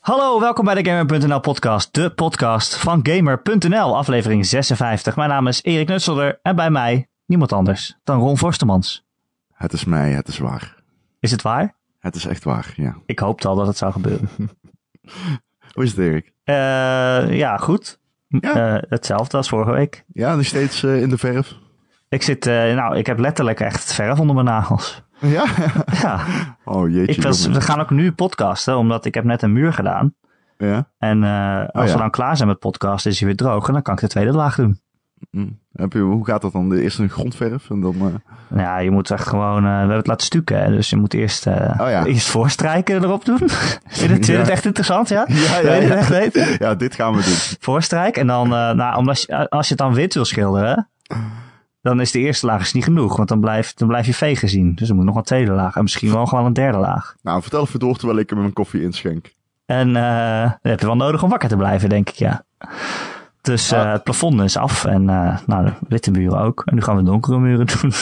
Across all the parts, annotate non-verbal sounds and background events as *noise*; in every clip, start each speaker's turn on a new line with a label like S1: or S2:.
S1: Hallo, welkom bij de Gamer.nl podcast, de podcast van Gamer.nl, aflevering 56. Mijn naam is Erik Nutselder en bij mij niemand anders dan Ron Forstemans.
S2: Het is mij, het is waar.
S1: Is het waar?
S2: Het is echt waar, ja.
S1: Ik hoopte al dat het zou gebeuren.
S2: Hoe is het, Erik?
S1: Eh, ja, goed.
S2: Ja.
S1: Eh, hetzelfde als vorige week.
S2: Ja, nog steeds eh, in de verf.
S1: Ik zit, eh, nou, ik heb letterlijk echt verf onder mijn
S2: *laughs*
S1: nagels.
S2: Ja?
S1: Ja,
S2: Oh jeetje.
S1: ik was,
S2: jongen.
S1: we gaan ook nu podcasten, omdat ik heb net een muur gedaan.
S2: Ja?
S1: En eh, als
S2: Oh ja.
S1: we dan klaar zijn met podcast, is hij weer droog en dan kan ik de tweede laag doen.
S2: Hm. Heb je, hoe gaat dat dan? Eerst een grondverf en dan... eh,
S1: Nou Ja, je moet echt gewoon... eh, we hebben het laten stukken, hè, dus je moet eerst, eh,
S2: Oh ja.
S1: eerst voorstrijken erop
S2: *laughs*
S1: doen. vind je het, vind je het
S2: Ja.
S1: echt interessant, ja?
S2: Ja,
S1: Wil
S2: ja,
S1: je dit
S2: ja.
S1: echt weten?
S2: eh, *laughs* Ja, dit gaan we doen.
S1: Voorstrijk en dan... eh, nou, omdat je- als je het dan wit wil schilderen, dan is de eerste laag is niet genoeg. Want dan blijft dan blijf je vegen zien. Dus er moet nog een tweede laag en misschien wel gewoon een derde laag.
S2: Nou, vertel even door terwijl ik hem mijn koffie inschenk. *laughs*
S1: En eh, dat heb je wel nodig om wakker te blijven, denk ik, ja. Dus eh,
S2: Ah.
S1: het plafond is af en eh, nou, de witte muren ook. En nu gaan we donkere muren
S2: *laughs*
S1: doen.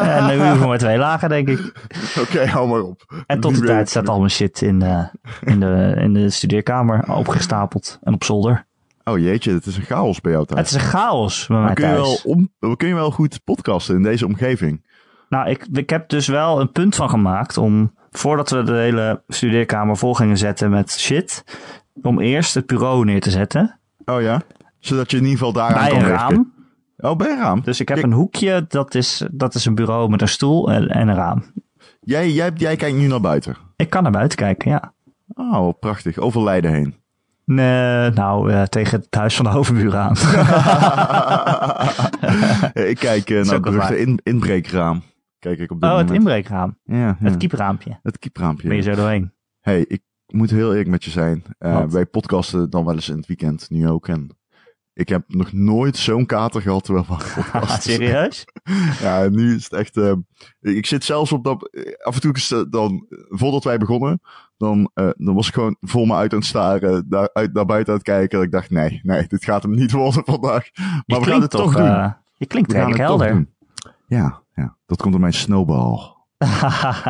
S1: en nu hoeven we maar twee lagen, denk ik.
S2: Oké, hou maar op.
S1: En tot
S2: Nu
S1: die
S2: weet ik
S1: tijd staat
S2: het.
S1: al mijn shit in de, in de, in de
S2: *laughs*
S1: studeerkamer opgestapeld en op zolder.
S2: Oh jeetje, het is een chaos bij jou
S1: Het
S2: thuis.
S1: is een chaos bij mij
S2: kun, je wel
S1: thuis.
S2: om, kun je wel goed podcasten in deze omgeving?
S1: Nou, ik, ik heb dus wel een punt van gemaakt om, voordat we de hele studeerkamer vol gingen zetten met shit, om eerst het bureau neer te zetten
S2: Oh ja? Zodat je in ieder geval daaraan
S1: bij
S2: kan
S1: een
S2: werken.
S1: raam.
S2: Oh, bij een raam?
S1: Dus ik heb een hoekje, dat is, dat is een bureau met een stoel en, en een raam.
S2: Jij, jij, jij kijkt nu naar buiten.
S1: Ik kan naar buiten kijken, ja.
S2: Oh, prachtig. Over Leiden heen.
S1: Nee, nou, eh, tegen het huis van de overbuur
S2: *laughs*
S1: aan. *laughs*
S2: ik kijk eh,
S1: is
S2: naar
S1: ook
S2: het
S1: wel
S2: beruchte in, inbreekraam. Kijk ik op dit
S1: oh, het
S2: moment.
S1: inbreekraam.
S2: ja, ja.
S1: Het kiepraampje.
S2: Het
S1: Ben je
S2: kiepraampje.
S1: zo doorheen.
S2: *laughs* hey, ik moet heel eerlijk met je zijn. Eh,
S1: Wat?
S2: wij podcasten dan wel eens in het weekend, nu ook. En ik heb nog nooit zo'n kater gehad terwijl we aan
S1: *laughs*
S2: het
S1: Ah,
S2: podcasten zijn.
S1: serieus?
S2: *laughs* Ja, nu is het echt... eh, ik zit zelfs op dat... eh, Af en toe is het dan... Voordat wij begonnen, dan, eh, dan was ik gewoon voor me uit aan het staren. Daar, uit, naar buiten aan het kijken. En ik dacht, nee, nee, dit gaat hem niet worden vandaag. Maar we gaan het toch doen.
S1: eh, je klinkt
S2: We gaan
S1: redelijk
S2: het toch
S1: helder.
S2: doen. Ja, ja, dat komt door mijn snowball.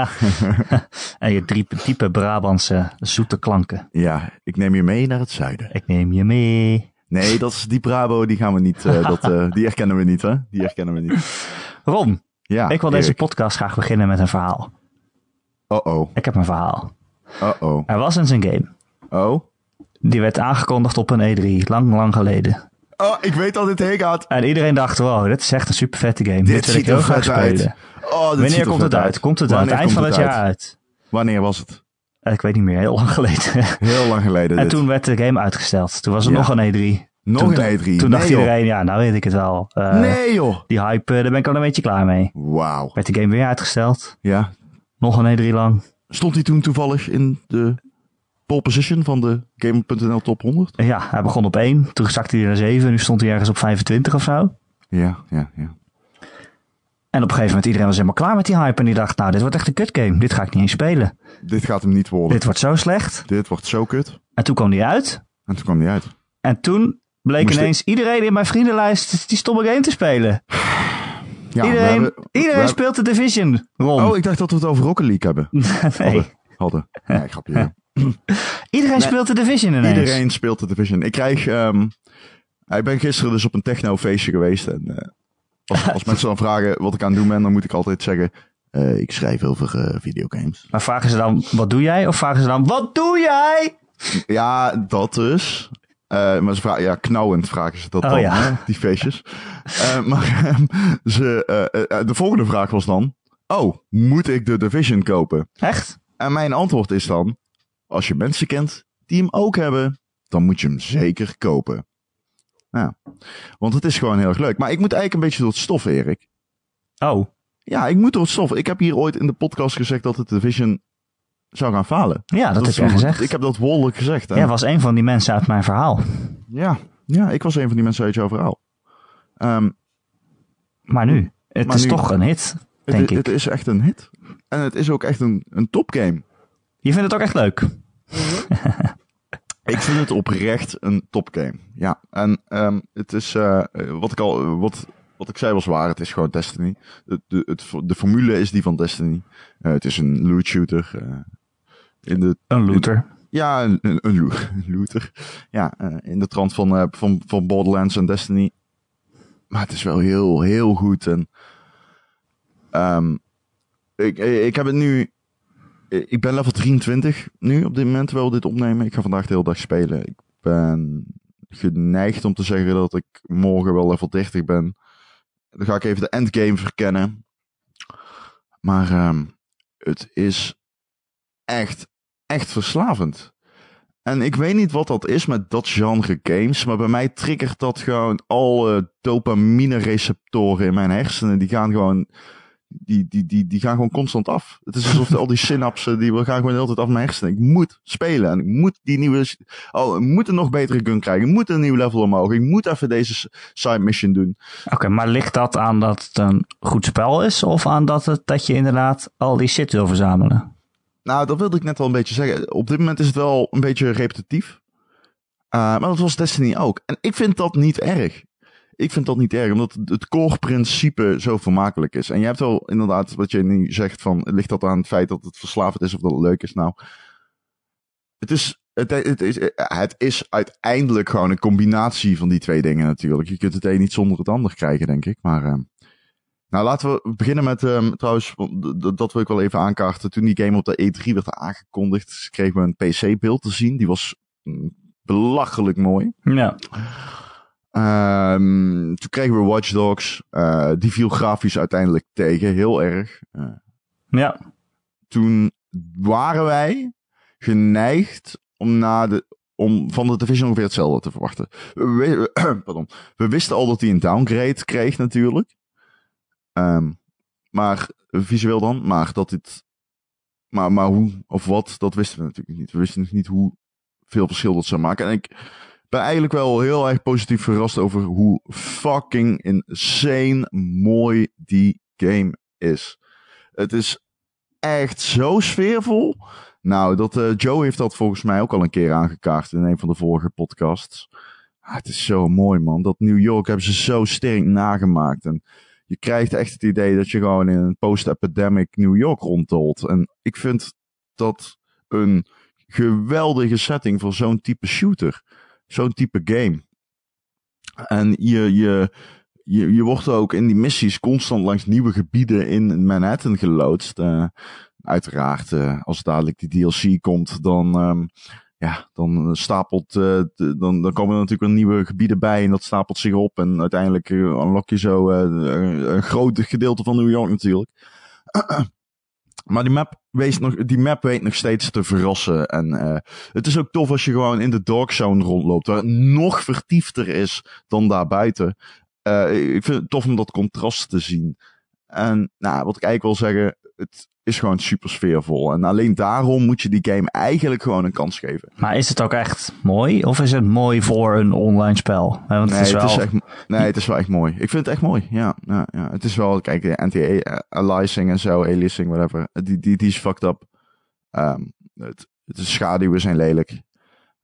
S1: *laughs* en je drie type Brabantse zoete klanken.
S2: Ja, ik neem je mee naar het zuiden.
S1: Ik neem je mee.
S2: Nee, dat is die Bravo, die gaan we
S1: *laughs*
S2: niet. eh, dat, eh, die herkennen we niet, hè? Die herkennen we niet.
S1: Ron,
S2: Ja,
S1: ik wil
S2: Ah, Erik.
S1: deze podcast graag beginnen met een verhaal.
S2: Oh-oh,
S1: Ik heb een verhaal.
S2: oh-oh,
S1: Er was eens een game.
S2: oh.
S1: Die werd aangekondigd op een E3, lang, lang geleden.
S2: Oh, ik weet dat dit heen gaat.
S1: En iedereen dacht, wow, dit is echt een super vette game. Dit,
S2: Dit,
S1: wil ik
S2: ziet
S1: heel
S2: er
S1: graag
S2: vet uit.
S1: spelen.
S2: Oh, dit ziet
S1: Wanneer
S2: er
S1: komt
S2: vet
S1: het uit? Komt het aan
S2: Wanneer
S1: het eind van
S2: komt
S1: het jaar uit?
S2: Wanneer was het?
S1: Eh, Ik weet niet meer, heel *laughs* lang geleden.
S2: Heel lang geleden.
S1: en
S2: dit.
S1: toen werd de game uitgesteld. Toen was er
S2: Ja.
S1: nog een E E3.
S2: Nog
S1: toen,
S2: een E3.
S1: Toen dacht
S2: Nee, joh.
S1: iedereen, ja, nou weet ik het wel. Eh,
S2: nee, joh.
S1: Die hype, eh, daar ben ik al een beetje klaar mee.
S2: Wauw.
S1: Werd de game weer uitgesteld.
S2: Ja.
S1: Nog een E3 lang.
S2: Stond hij toen toevallig in de pole position van de Gamer.nl top 100?
S1: En Eh, Ja, hij begon op 1. Toen zakte hij naar 7. Nu stond hij ergens op 25 of zo.
S2: Ja, ja, ja.
S1: En op een gegeven moment iedereen was helemaal klaar met die hype. En die dacht, nou, dit wordt echt een kutgame. Dit ga ik niet eens spelen.
S2: Dit gaat hem niet worden.
S1: Dit wordt zo slecht.
S2: Dit wordt zo kut.
S1: En toen kwam die uit.
S2: En toen kwam die uit.
S1: En toen bleek
S2: Moest
S1: ineens iedereen in mijn vriendenlijst die stomme game te spelen.
S2: Ja, we
S1: iedereen
S2: hebben- we
S1: iedereen
S2: hebben-
S1: speelt de Division, Ron.
S2: Oh, ik dacht dat we het over Rocket League hebben.
S1: *laughs* nee.
S2: Hadden. Nee, grapje. ja.
S1: Iedereen speelt de Division ineens.
S2: Iedereen speelt de Division. Ik krijg... ehm, ik ben gisteren dus op een technofeestje geweest. En eh,
S1: *laughs*
S2: als, als mensen dan vragen wat ik aan het doen ben, dan moet ik altijd zeggen... eh, ik schrijf heel veel eh, videogames.
S1: Maar vragen ze dan, wat doe jij? Of vragen ze dan, wat doe jij?
S2: Ja, dat dus. Eh, maar ze vragen, ja, knauwend vragen ze dat
S1: Oh,
S2: dan,
S1: ja.
S2: hè, die feestjes. Eh, maar *laughs* ehm, ze, eh, eh, de volgende vraag was dan... Oh, moet ik de Division kopen?
S1: Echt?
S2: En mijn antwoord is dan: als je mensen kent die hem ook hebben, dan moet je hem zeker kopen. Ja, want het is gewoon heel erg leuk. Maar ik moet eigenlijk een beetje door het stof, Erik.
S1: Oh,
S2: Ja, ik moet door het stof. Ik heb hier ooit in de podcast gezegd dat het Division zou gaan falen.
S1: ja, dat, heb
S2: is
S1: jij
S2: wel-
S1: gezegd.
S2: Ik heb eh, dat woordelijk gezegd. Hè?
S1: Jij
S2: Ja.
S1: was een van die mensen uit mijn verhaal.
S2: Ja, ik was een van die mensen uit jouw verhaal. Ehm,
S1: Maar nu, het
S2: Maar
S1: is
S2: nu-
S1: toch een hit,
S2: het,
S1: denk
S2: i-
S1: ik.
S2: het is echt een hit. En het is ook echt een, een topgame.
S1: Je vindt het ook echt leuk.
S2: Ik vind het oprecht een topgame. Ja, en ehm, het is eh, eh, wat ik al eh, wat, wat ik zei was waar. Het is gewoon Destiny. De, de, het, de formule is die van Destiny. Eh, het is een loot shooter. eh, in de,
S1: Een looter.
S2: Ja, een, een, een lo- *laughs* een looter. Ja, eh, in de trant van, eh, van, van Borderlands en Destiny. Maar het is wel heel, heel goed. En, ehm, ik, eh, ik heb het nu... eh, Ik ben level 23 nu op dit moment, terwijl we dit opnemen. Ik ga vandaag de hele dag spelen. Ik ben geneigd om te zeggen dat ik morgen wel level 30 ben. Dan ga ik even de endgame verkennen. Maar ehm, het is echt, echt verslavend. En ik weet niet wat dat is met dat genre games, maar bij mij triggert dat gewoon alle dopamine-receptoren in mijn hersenen. Die gaan gewoon, die, die, die, die gaan gewoon constant af. Het is alsof al die synapsen, die gaan gewoon de hele tijd af mijn hersenen. Ik moet spelen en ik moet die nieuwe, oh, ik moet een nog betere gun krijgen. Ik moet een nieuw level omhoog. Ik moet even deze s- side mission doen.
S1: Oké, maar ligt dat aan dat het een goed spel is of aan dat, het, dat je inderdaad al die shit wil verzamelen?
S2: Nou, dat wilde ik net al een beetje zeggen. Op dit moment is het wel een beetje repetitief. Eh, maar dat was Destiny ook. En ik vind dat niet erg. Ik vind dat niet erg, omdat het core principe zo vermakelijk is. En je hebt wel inderdaad, wat je nu zegt, van ligt dat aan het feit dat het verslavend is of dat het leuk is? Nou, het is, het, het is, het is uiteindelijk gewoon een combinatie van die twee dingen natuurlijk. Je kunt het een niet zonder het ander krijgen, denk ik. Maar ehm, nou, laten we beginnen met ehm, trouwens, want d- d- dat wil ik wel even aankaarten. Toen die game op de E3 werd aangekondigd, kregen we een PC-beeld te zien. Die was mm, belachelijk mooi.
S1: Ja.
S2: Ehm, toen kregen we Watch Dogs. Eh, die viel grafisch uiteindelijk tegen, heel erg. Eh,
S1: Ja.
S2: toen waren wij geneigd om, na de, om van de Division ongeveer hetzelfde te verwachten. We, *clears throat* pardon. we wisten al dat hij een downgrade kreeg natuurlijk. Ehm, maar visueel dan, maar dat dit... Maar, maar hoe of wat, dat wisten we natuurlijk niet. We wisten nog niet hoe veel verschil dat zou maken. En ik ben eigenlijk wel heel erg positief verrast over hoe fucking insane mooi die game is. Het is echt zo sfeervol. Nou, dat, eh, Joe heeft dat volgens mij ook al een keer aangekaart in een van de vorige podcasts. Ah, het is zo mooi, man. Dat New York hebben ze zo sterk nagemaakt. En je krijgt echt het idee dat je gewoon in een post-epidemic New York rondtolt. En ik vind dat een geweldige setting voor zo'n type shooter. Zo'n type game. En je, je, je, je wordt ook in die missies constant langs nieuwe gebieden in Manhattan geloodst. Eh, uiteraard, eh, als dadelijk die DLC komt, dan, ehm, ja, dan stapelt, eh, de- dan, dan komen er natuurlijk weer nieuwe gebieden bij en dat stapelt zich op. En uiteindelijk eh, unlock je zo eh, een groot gedeelte van New York natuurlijk. *clears throat* Maar die map, wees nog, die map weet nog steeds te verrassen. En eh, het is ook tof als je gewoon in de dark zone rondloopt. Waar het nog vertiefder is dan daarbuiten. Eh, ik vind het tof om dat contrast te zien. En nou, wat ik eigenlijk wil zeggen, het is gewoon super sfeervol. En alleen daarom moet je die game eigenlijk gewoon een kans geven.
S1: Maar is het ook echt mooi of is het mooi voor een online spel? Eh, Want het is wel...
S2: echt, nee, het is wel echt mooi. Ik vind het echt mooi. Ja, ja, ja. Het is wel, kijk, de anti-aliasing eh, en zo, aliasing, whatever. Die, die, die is fucked up. Ehm, het, het is schaduwen zijn lelijk.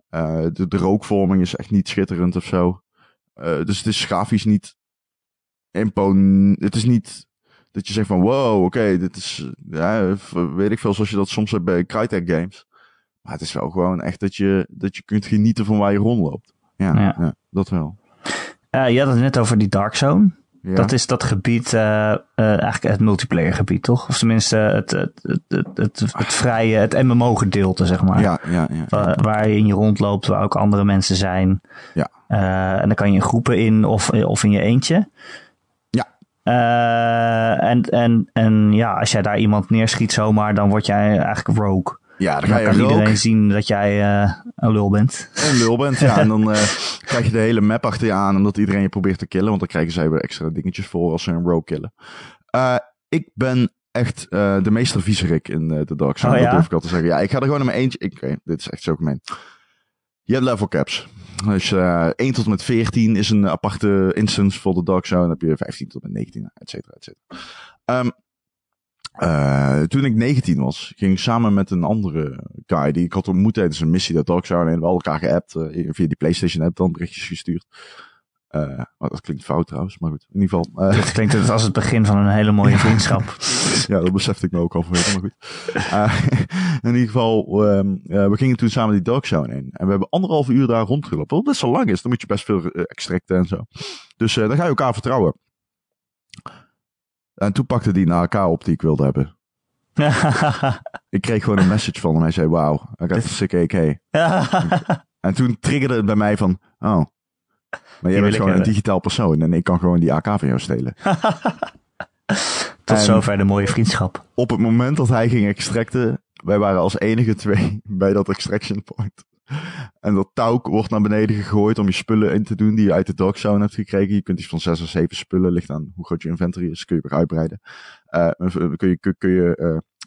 S2: Eh, de, de rookvorming is echt niet schitterend of zo. Eh, dus het is grafisch niet impon... Het is niet dat je zegt van wow, oké, dit is... Ja, weet ik veel, zoals je dat soms hebt bij Crytek games. Maar het is wel gewoon echt dat je, dat je kunt genieten van waar je rondloopt. Ja,
S1: Ja.
S2: ja. dat wel.
S1: Eh, je had het net over die Dark Zone.
S2: Ja.
S1: Dat is dat gebied, eh, eh, eigenlijk het multiplayer gebied, toch? Of tenminste het, het, het, het, het, het vrije, het MMO-gedeelte, zeg maar.
S2: Ja, ja, ja.
S1: Wa- waar je in je rondloopt, waar ook andere mensen zijn.
S2: Ja.
S1: Eh, en dan kan je in groepen in of, of in je eentje.
S2: Ja.
S1: Eh, en, en, en ja, als jij daar iemand neerschiet zomaar, dan word jij eigenlijk rogue.
S2: Ja, dan ga
S1: Dan
S2: je
S1: kan *laughs* iedereen
S2: rook
S1: zien dat jij eh, een lul
S2: *laughs*
S1: bent.
S2: en lul bent. Ja, en dan eh, *laughs* krijg je de hele map achter je aan omdat iedereen je probeert te killen. Want dan krijgen zij weer extra dingetjes voor als ze een rogue killen. Eh, ik ben echt eh, de meester viezerik in eh, de Dark Zone.
S1: Oh,
S2: dat
S1: ja?
S2: durf ik al te zeggen. Ja, ik ga er gewoon in mijn eentje... Ik, oké, dit is echt zo gemeen. Je hebt level caps. Dus eh 1 tot en met 14 is een aparte instance voor de Dark Zone. Dan heb je 15 tot en met 19, et cetera, et cetera. Ehm, eh, toen ik 19 was, ging ik samen met een andere guy die ik had ontmoet tijdens een missie dat Dark Zone. En we hadden elkaar geappt, eh, via die PlayStation app dan berichtjes gestuurd. Eh, maar dat klinkt fout trouwens, maar goed. In ieder geval, eh, *laughs*
S1: Het klinkt het als het begin van een hele mooie vriendschap.
S2: ja, dat besefte ik me ook al voor maar goed. Eh, *laughs* in ieder geval, ehm, eh, we gingen toen samen die dark zone in. En we hebben anderhalf uur daar rondgelopen. Wat best wel lang is, dan moet je best veel eh, extracten en zo. Dus eh, dan ga je elkaar vertrouwen. En toen pakte die naar elkaar op die ik wilde hebben. Ik kreeg
S1: *laughs*
S2: gewoon een message van hem. Hij zei, wauw, I got a sick AK. En toen triggerde het bij mij van, oh, maar jij
S1: wil ik
S2: bent gewoon een
S1: hebben.
S2: digitaal persoon en ik kan gewoon die AK van jou stelen.
S1: Tot
S2: En-
S1: zover de mooie vriendschap.
S2: Op het moment dat hij ging extracten, wij waren als enige twee *laughs* bij dat extraction point. En dat touw wordt naar beneden gegooid om je spullen in te doen die je uit de dog zone hebt gekregen. Je kunt iets van zes of zeven spullen, ligt aan hoe groot je inventory is, kun je weer uitbreiden. Eh, en kun je, kun, kun je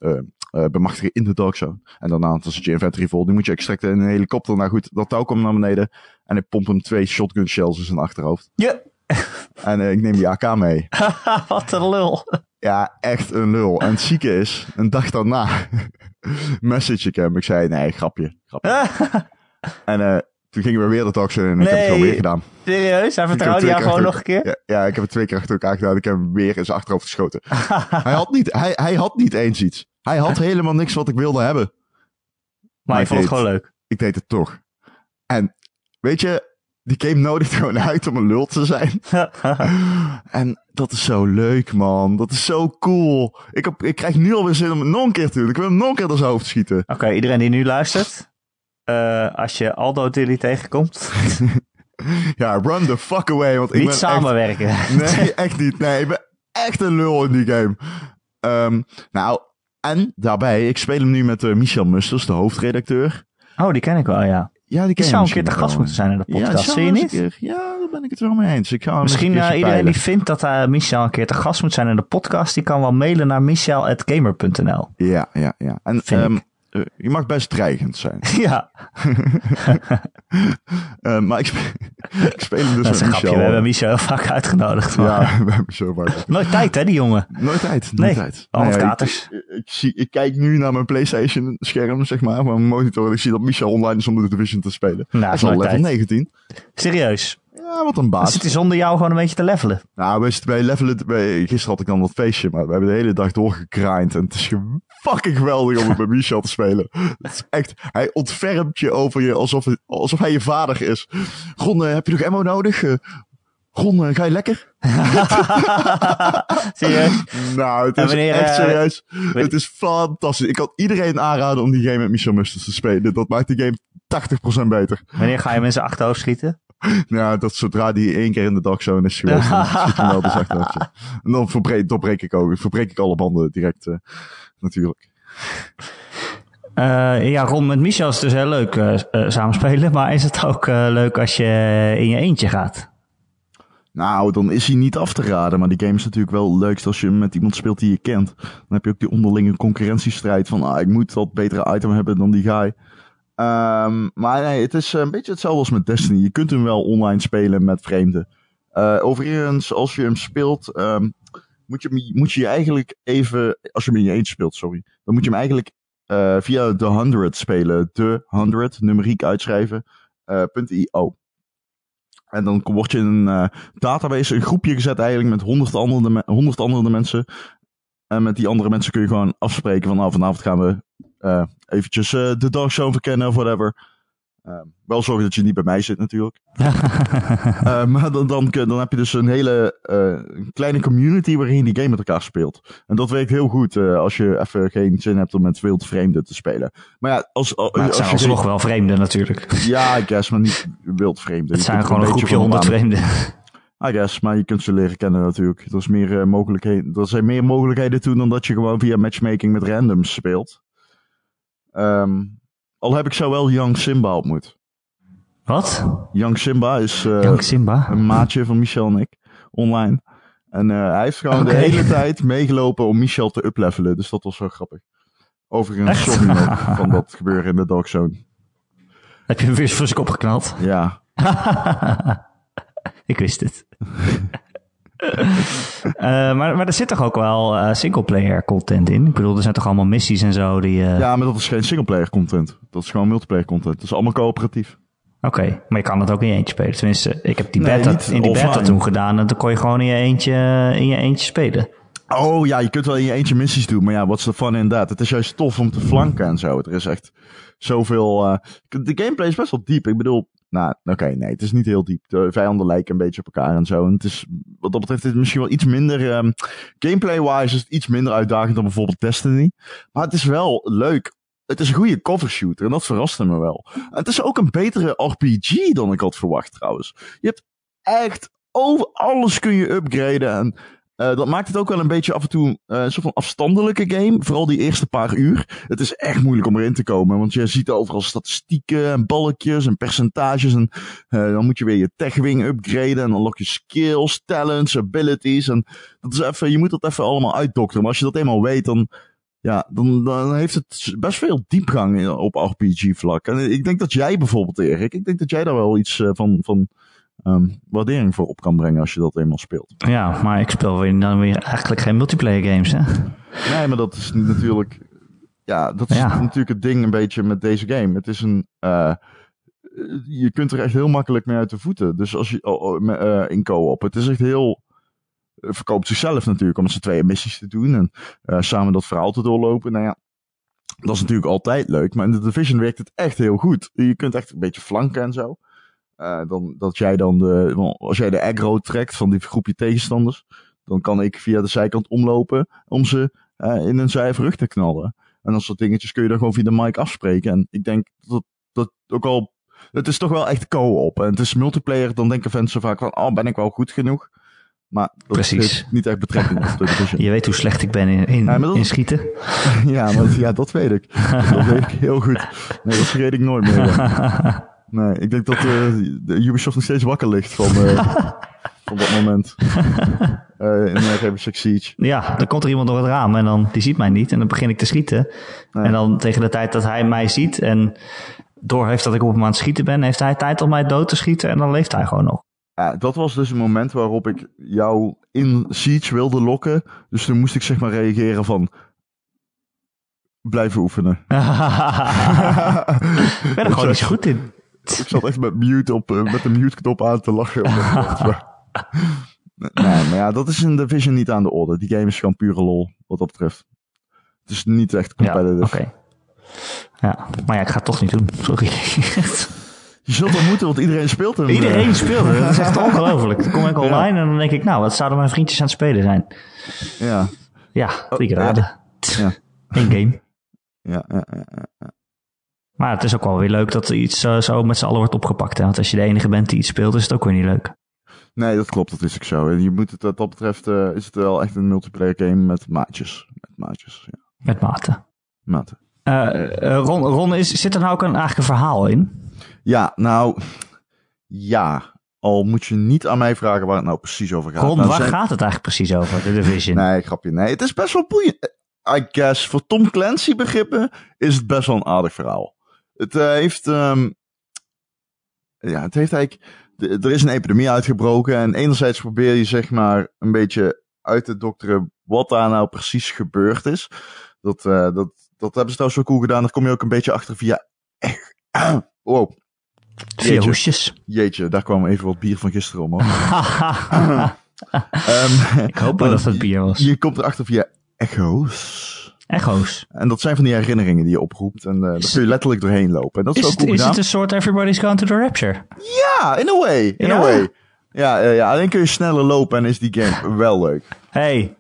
S2: eh, eh, eh, bemachtigen in de dog zone. En daarna, als het je inventory vol, die moet je extracten in een helikopter. Nou goed, dat touw komt naar beneden en ik pomp hem twee shotgun shells in zijn achterhoofd.
S1: Ja, *laughs*
S2: En eh, ik neem die AK mee.
S1: wat een lul. *laughs*
S2: Ja, echt een lul. En het zieke is, een dag daarna *laughs* message ik hem. Ik zei, nee, grapje. grapje. En eh, toen gingen we weer de talkshow in en ik heb het gewoon
S1: Nee.
S2: weer gedaan.
S1: Serieus? Hij
S2: Ik heb
S1: vertrouwde
S2: twee
S1: jou
S2: keer
S1: gewoon nog een
S2: achter-
S1: keer?
S2: Ja, ja, ik heb het twee keer achter elkaar gedaan. Ik heb hem weer in zijn achterhoofd geschoten.
S1: *laughs*
S2: hij, had niet, hij, hij had niet eens iets. Hij had helemaal niks wat ik wilde hebben.
S1: Maar je
S2: ik
S1: vond het
S2: deed-
S1: gewoon leuk.
S2: Ik deed het toch. En weet je, die game nodigt gewoon uit om een lul te zijn. *laughs*
S1: *laughs*
S2: En dat is zo leuk, man. Dat is zo cool. Ik, heb, ik krijg nu alweer zin om het nog een keer te doen. Ik wil hem nog een keer door zijn hoofd schieten.
S1: Oké, iedereen die nu luistert. eh, als je Aldo Tilly tegenkomt,
S2: Ja, run the fuck away. Want ik
S1: niet
S2: ben
S1: samenwerken.
S2: Echt, nee, echt niet. Nee, ik ben echt een lul in die game. Ehm, nou, en daarbij, ik speel hem nu met eh, Michel Musters, de hoofdredacteur.
S1: *laughs* Oh, die ken ik wel, ja.
S2: Ja, die
S1: Die
S2: ken je
S1: zou een
S2: misschien
S1: keer te
S2: wel.
S1: gast moeten zijn in de
S2: Ja, die
S1: podcast,
S2: zou
S1: zie je
S2: wel eens
S1: niet?
S2: een keer- Ja, daar ben ik het wel mee eens. Ik ga hem eens
S1: Misschien
S2: een
S1: eh,
S2: keertje
S1: iedereen die
S2: peilen.
S1: vindt dat eh Michel een keer te gast moet zijn in de podcast, die kan wel mailen naar michel.gamer.nl.
S2: Ja, ja, ja. En
S1: Vind ik.
S2: ehm, eh, je mag best dreigend zijn.
S1: *laughs* ja,
S2: Eh, maar ik speel, *laughs* ik speel hem dus
S1: dat is
S2: met
S1: een
S2: Michel.
S1: grapje. We hebben Michel heel vaak uitgenodigd. maar-
S2: Ja, we hebben zo vaak.
S1: Nooit tijd, hè, die jongen?
S2: Nooit tijd,
S1: Nee,
S2: nooit tijd.
S1: allemaal
S2: Nee,
S1: katers.
S2: Ik, Eh, ik, zie, ik kijk nu naar mijn PlayStation scherm, zeg maar, van mijn monitor. En ik zie dat Michel online is om de Division te spelen.
S1: Nou,
S2: Hij is al
S1: nooit
S2: level
S1: tijd.
S2: 19.
S1: Serieus.
S2: Ja, wat een
S1: Dan
S2: baas.
S1: zit hij zonder jou gewoon een beetje te levelen.
S2: Nou, we zitten bij levelen. Bij, gisteren had ik dan dat feestje, maar we hebben de hele dag doorgekraaid. En het is ge- fucking geweldig om het met Michel te spelen. *laughs* Het is echt, hij ontfermt je over je alsof, het- alsof hij je vader is. Ron, eh, heb je nog ammo nodig? Eh, Ron, eh, ga je lekker?
S1: Serieus?
S2: Nou, het
S1: En
S2: is
S1: wanneer,
S2: echt
S1: eh,
S2: serieus. het is fantastisch. Ik kan iedereen aanraden om die game met Michel Musters te spelen. Dat maakt die game 80% beter.
S1: Wanneer ga je mensen achterhoofd schieten?
S2: Ja, dat zodra die één keer in de dagzone is geweest, dan schiet hij wel op zijn
S1: *laughs*
S2: achterhoofdje. En dan verbreek, doorbreek ik ook. Verbreek ik alle banden direct, eh, natuurlijk.
S1: Eh, ja, Ron met Michel is dus heel leuk eh, s- eh, samen spelen. Maar is het ook eh, leuk als je in je eentje gaat?
S2: Nou, dan is hij niet af te raden. Maar die game is natuurlijk wel het leukst als je hem met iemand speelt die je kent. Dan heb je ook die onderlinge concurrentiestrijd van... Ah, ik moet dat betere item hebben dan die guy. Ehm, maar nee, het is een beetje hetzelfde als met Destiny. Je kunt hem wel online spelen met vreemden. Eh, overigens, als je hem speelt... ehm, moet, je, hem- moet je je eigenlijk even... Als je hem in je eentje speelt, sorry. Dan moet je hem eigenlijk eh, via de 100 spelen. De 100, numeriek uitschrijven. eh, .io. En dan word je in een eh, database, een groepje gezet eigenlijk met honderd andere, me- 100 andere mensen. En met die andere mensen kun je gewoon afspreken van nou, vanavond gaan we eh, eventjes eh, de dark zone verkennen of whatever. Ehm, wel zorgen dat je niet bij mij zit
S1: *laughs*
S2: natuurlijk. Eh, maar dan, dan, kun- dan heb je dus een hele eh, een kleine community waarin je die game met elkaar speelt. En dat werkt heel goed eh, als je even geen zin hebt om met wild vreemden te spelen. Maar ja, als, als,
S1: Maar het zijn
S2: als je... geen-
S1: alsnog wel vreemden
S2: *laughs*
S1: natuurlijk.
S2: Ja, I guess, maar niet wild vreemden.
S1: Het
S2: Je
S1: zijn
S2: kunt
S1: gewoon een
S2: beetje
S1: groepje
S2: van hem
S1: honderd
S2: aan-
S1: vreemden.
S2: I guess, maar je kunt ze leren kennen natuurlijk. Er, is meer, eh, mogelijkheden, er zijn meer mogelijkheden toe dan dat je gewoon via matchmaking met randoms speelt. Ehm, al heb ik zo wel Young Simba ontmoet.
S1: Wat?
S2: Young Simba is eh,
S1: Jank Simba?
S2: een maatje van Michel en ik online. En eh, hij heeft gewoon
S1: Oké.
S2: de hele tijd meegelopen om Michel te uplevelen. Dus dat was zo grappig. Overigens,
S1: Echt?
S2: sorry nog
S1: *laughs*
S2: van dat gebeuren in de Dark Zone.
S1: Heb je hem weer voor zijn kop geknald?
S2: Ja,
S1: Ik wist
S2: *laughs*
S1: het. Eh, maar, maar er zit toch ook wel eh, singleplayer content in? Ik bedoel, er zijn toch allemaal missies en zo die... eh,
S2: ja maar dat is geen singleplayer content. Dat is gewoon multiplayer content. Dat is allemaal coöperatief.
S1: Oké, maar je kan het ook in je eentje spelen. Tenminste, ik heb die
S2: Nee,
S1: beta,
S2: niet
S1: in die beta
S2: offline.
S1: toen gedaan en dan kon je gewoon in je eentje, in je eentje spelen.
S2: Oh ja, je kunt wel in je eentje missies doen, maar ja, wat is de fun inderdaad? Het is juist tof om te flanken en zo. Er is echt zoveel. eh, de gameplay is best wel diep. Ik bedoel, nou, oké, nee, het is niet heel diep. De vijanden lijken een beetje op elkaar en zo. En het is, wat dat betreft, is het misschien wel iets minder. ehm, Gameplay-wise is het iets minder uitdagend dan bijvoorbeeld Destiny. Maar het is wel leuk. Het is een goede covershooter en dat verraste me wel. En het is ook een betere RPG dan ik had verwacht trouwens. Je hebt echt over alles kun je upgraden en eh, dat maakt het ook wel een beetje af en toe eh, een soort van afstandelijke game. Vooral die eerste paar uur. Het is echt moeilijk om erin te komen. Want je ziet overal statistieken en balkjes en percentages. En eh, dan moet je weer je techwing upgraden. En dan lok je skills, talents, abilities. En dat is even, je moet dat even allemaal uitdokteren. Maar als je dat eenmaal weet, dan, ja, dan, dan heeft het best veel diepgang in- op RPG-vlak. En ik denk dat jij bijvoorbeeld, Erik, ik denk dat jij daar wel iets eh, van, van ehm, waardering voor op kan brengen als je dat eenmaal speelt.
S1: Ja, maar ik speel weer, dan weer eigenlijk geen multiplayer games, hè?
S2: Nee, maar dat is niet natuurlijk. Ja, dat is
S1: Ja.
S2: natuurlijk het ding een beetje met deze game. Het is een. eh, je kunt er echt heel makkelijk mee uit de voeten. Dus als je oh, oh, me- eh, in co-op. Het is echt heel. Het verkoopt zichzelf natuurlijk om met z'n tweeën missies te doen en eh, samen dat verhaal te doorlopen. Nou ja, dat is natuurlijk altijd leuk. Maar in de Division werkt het echt heel goed. Je kunt echt een beetje flanken en zo. Eh, dan, dat jij dan de, als jij de aggro trekt van die groepje tegenstanders, dan kan ik via de zijkant omlopen om ze eh, in een zij rug te knallen. En dat soort dingetjes kun je dan gewoon via de mic afspreken. En ik denk dat dat ook al. Het is toch wel echt co-op. En het is multiplayer, dan denken fans zo vaak van: oh, ben ik wel goed genoeg? Maar dat
S1: Precies.
S2: heeft niet echt betrekking op de Division.
S1: Je weet hoe slecht ik ben in, in,
S2: Ja, maar dat-
S1: in schieten.
S2: *laughs* Ja, maar, ja, dat weet ik. Dat weet ik heel goed. Nee, dat vergeet ik nooit meer. ja. Nee, ik denk dat eh, de Ubisoft nog steeds wakker ligt van, eh, van dat moment. Eh in uh, Rainbow Six Siege.
S1: Ja, dan komt er iemand door het raam en dan, die ziet mij niet. En dan begin ik te schieten. En dan tegen de tijd dat hij mij ziet en door heeft dat ik op hem aan het schieten ben, heeft hij tijd om mij dood te schieten en dan leeft hij gewoon nog. *laughs*
S2: Ja, dat was dus een moment waarop ik jou in Siege wilde lokken. Dus toen moest ik zeg maar reageren van... Blijven oefenen.
S1: *laughs*
S2: *laughs*
S1: ik ben er gewoon niet zo goed in.
S2: Ik zat echt met, mute op, eh, met de mute-knop aan te lachen. omdat ik dacht,
S1: *laughs*
S2: maar- nee, maar ja, dat is in Division niet aan de orde. Die game is gewoon pure lol, wat dat betreft. Het is niet echt
S1: Ja,
S2: competitive.
S1: oké. Ja, maar ja, ik ga het toch niet doen. Sorry.
S2: Je zult wel moeten, want iedereen speelt hem.
S1: *laughs* Iedereen
S2: eh.
S1: speelt het. Dat is echt ongelooflijk. Dan kom ik online en dan denk ik, nou, wat zouden mijn vriendjes aan het spelen zijn?
S2: *laughs* Ja,
S1: Oh, Ja, drie keer
S2: ja,
S1: raden.
S2: ja.
S1: Eén game.
S2: ja, ja, ja, ja.
S1: Maar het is ook wel weer leuk dat er iets eh, zo met z'n allen wordt opgepakt. Hè? Want als je de enige bent die iets speelt, is het ook weer niet leuk.
S2: Nee, dat klopt, dat is ook zo. En je moet het, wat dat betreft eh, is het wel echt een multiplayer game met maatjes. Met maatjes, ja.
S1: Met mate.
S2: Maten.
S1: Eh, eh, Ron, Ron is, zit er nou ook een, eigenlijk een verhaal in?
S2: Ja, nou, ja. Al moet je niet aan mij vragen waar het nou precies over gaat.
S1: Ron,
S2: Nou,
S1: waar
S2: zijn-
S1: gaat het eigenlijk precies over, de Division?
S2: Nee, grapje. Nee, het is best wel boeiend. Eh, I guess, voor Tom Clancy begrippen is het best wel een aardig verhaal. Het eh, heeft... ehm, ja, het heeft eigenlijk... d- Er is een epidemie uitgebroken en enerzijds probeer je zeg maar een beetje uit te dokteren wat daar nou precies gebeurd is. Dat, eh, dat, dat hebben ze trouwens zo cool gedaan. Daar kom je ook een beetje achter via... eh, Wow,
S1: Vier
S2: jeetje.
S1: hoesjes.
S2: jeetje, daar kwam even wat bier van gisteren om. hoor. Ehm,
S1: ik hoop wel Oh, dat het bier was.
S2: je komt erachter via echo's.
S1: Echo's.
S2: En dat zijn van die herinneringen die je oproept. En eh daar kun je letterlijk doorheen lopen. En dat is,
S1: Is
S2: ook
S1: het,
S2: cool
S1: is
S2: gedaan.
S1: het een soort Everybody's Gone to the Rapture?
S2: Ja, in a way. In
S1: Ja?
S2: a way. Ja, eh, ja, alleen kun je sneller lopen en is die game wel leuk. *clears throat*
S1: Hey,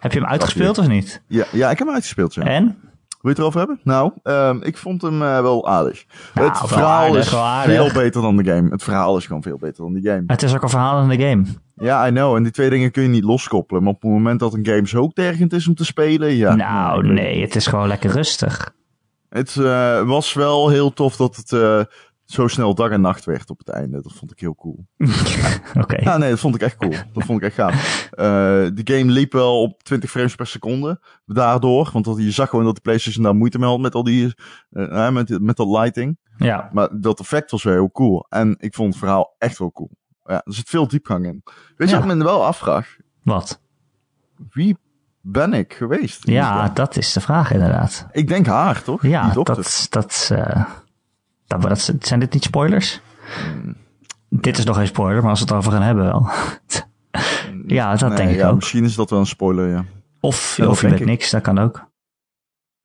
S1: heb je hem uitgespeeld of niet?
S2: Ja, ja ik heb hem uitgespeeld. Ja. Wil
S1: En?
S2: je het erover hebben? Nou, ehm, ik vond hem eh, wel aardig.
S1: Nou,
S2: het
S1: wel
S2: verhaal
S1: aardig,
S2: is
S1: wel aardig.
S2: veel beter dan de game. Het verhaal is gewoon veel beter dan die game.
S1: Het is ook een verhaal in de game.
S2: Ja, I know. En die twee dingen kun je niet loskoppelen. Maar op het moment dat een game zo tergend is om te spelen, ja.
S1: nou, nee, het is gewoon lekker
S2: *laughs*
S1: rustig.
S2: Het eh, was wel heel tof dat het eh, zo snel dag en nacht werd op het einde. Dat vond ik heel cool.
S1: Oké.
S2: Ja, nee, dat vond ik echt cool. Dat vond ik echt gaaf. Eh de game liep wel op 20 frames per seconde. Daardoor, want dat, je zag gewoon dat de PlayStation daar moeite mee had met al die, eh, eh, met, met dat lighting.
S1: Ja.
S2: Maar dat effect was wel heel cool. En ik vond het verhaal echt wel cool. Ja, er zit veel diepgang in. Weet je
S1: Ja.
S2: wat ik me wel afvraag?
S1: Wat?
S2: Wie ben ik geweest? in die
S1: Ja,
S2: game?
S1: dat is de vraag inderdaad.
S2: Ik denk haar, toch?
S1: Ja,
S2: Die dokter.
S1: dat, dat, eh, Dat, dat, zijn dit niet spoilers?
S2: Mm.
S1: Dit is nog geen spoiler, maar als we het over gaan hebben wel.
S2: *laughs*
S1: ja, dat
S2: Nee,
S1: denk ik
S2: ja,
S1: ook.
S2: Misschien is dat wel een spoiler, ja.
S1: Of,
S2: Ja, dat
S1: of je
S2: denk
S1: bent
S2: ik.
S1: niks, dat kan ook.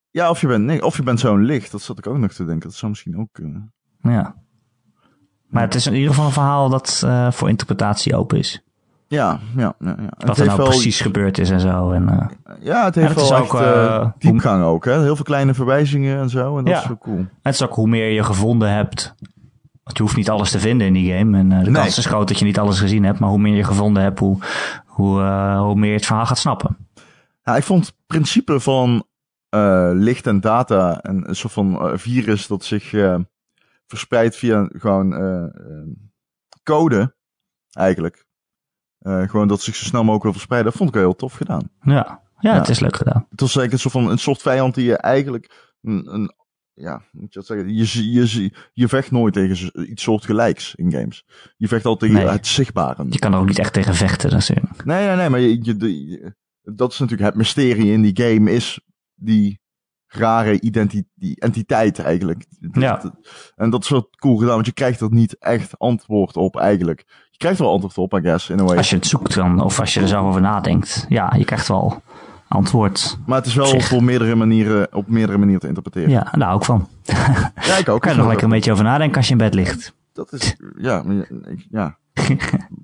S2: Ja, of je bent, nee, of je bent zo'n licht. Dat zat ik ook nog te denken. Dat zou misschien ook kunnen.
S1: Ja. Maar het is in ieder geval een verhaal dat eh, voor interpretatie open is.
S2: Ja, ja, ja. ja.
S1: Wat er nou precies gebeurd is en zo. En, eh,
S2: Ja, het
S1: En
S2: heeft
S1: het is
S2: wel
S1: ook,
S2: echt, eh,
S1: eh,
S2: diepgang ook. Hè? Heel veel kleine verwijzingen en zo. En dat
S1: Ja.
S2: is wel cool.
S1: het is ook hoe meer je gevonden hebt. Want je hoeft niet alles te vinden in die game. En eh, de
S2: Nee.
S1: kans is groot dat je niet alles gezien hebt. Maar hoe meer je gevonden hebt, hoe, hoe, eh, hoe meer je het verhaal gaat snappen.
S2: Ja, ik vond het principe van eh, licht en data en een soort van eh, virus dat zich eh, verspreidt via gewoon eh, eh, code, eigenlijk. Eh, gewoon dat zich zo snel mogelijk wil verspreiden. Dat vond ik wel heel tof gedaan.
S1: Ja, ja,
S2: Ja.
S1: het is leuk gedaan.
S2: Het was eigenlijk een soort van een soort vijand die je eigenlijk een, een- ja, hoe moet je dat zeggen? Je, zie- je, zie- je vecht nooit tegen z- iets soortgelijks in games. Je vecht altijd tegen
S1: Nee.
S2: het zichtbare.
S1: Je kan er ook niet echt tegen vechten natuurlijk.
S2: Nee, nee, nee, maar je, je- de- je- dat is natuurlijk het mysterie in die game, is die rare identi- die entiteit eigenlijk.
S1: Ja.
S2: Dat- En dat is wel cool gedaan, want je krijgt er niet echt antwoord op eigenlijk. Je krijgt wel antwoord op, I guess, in a way.
S1: Als je het zoekt dan, of als je er zelf over nadenkt. Ja, je krijgt wel antwoord.
S2: Maar het is wel
S1: Zich.
S2: voor meerdere manieren, op meerdere manieren te interpreteren.
S1: Ja, daar hou ik van.
S2: Ja, ik ook.
S1: Kan je er nog lekker een beetje over nadenken als je in bed ligt.
S2: Dat is, ja, maar je- ik,
S1: *laughs*
S2: ja.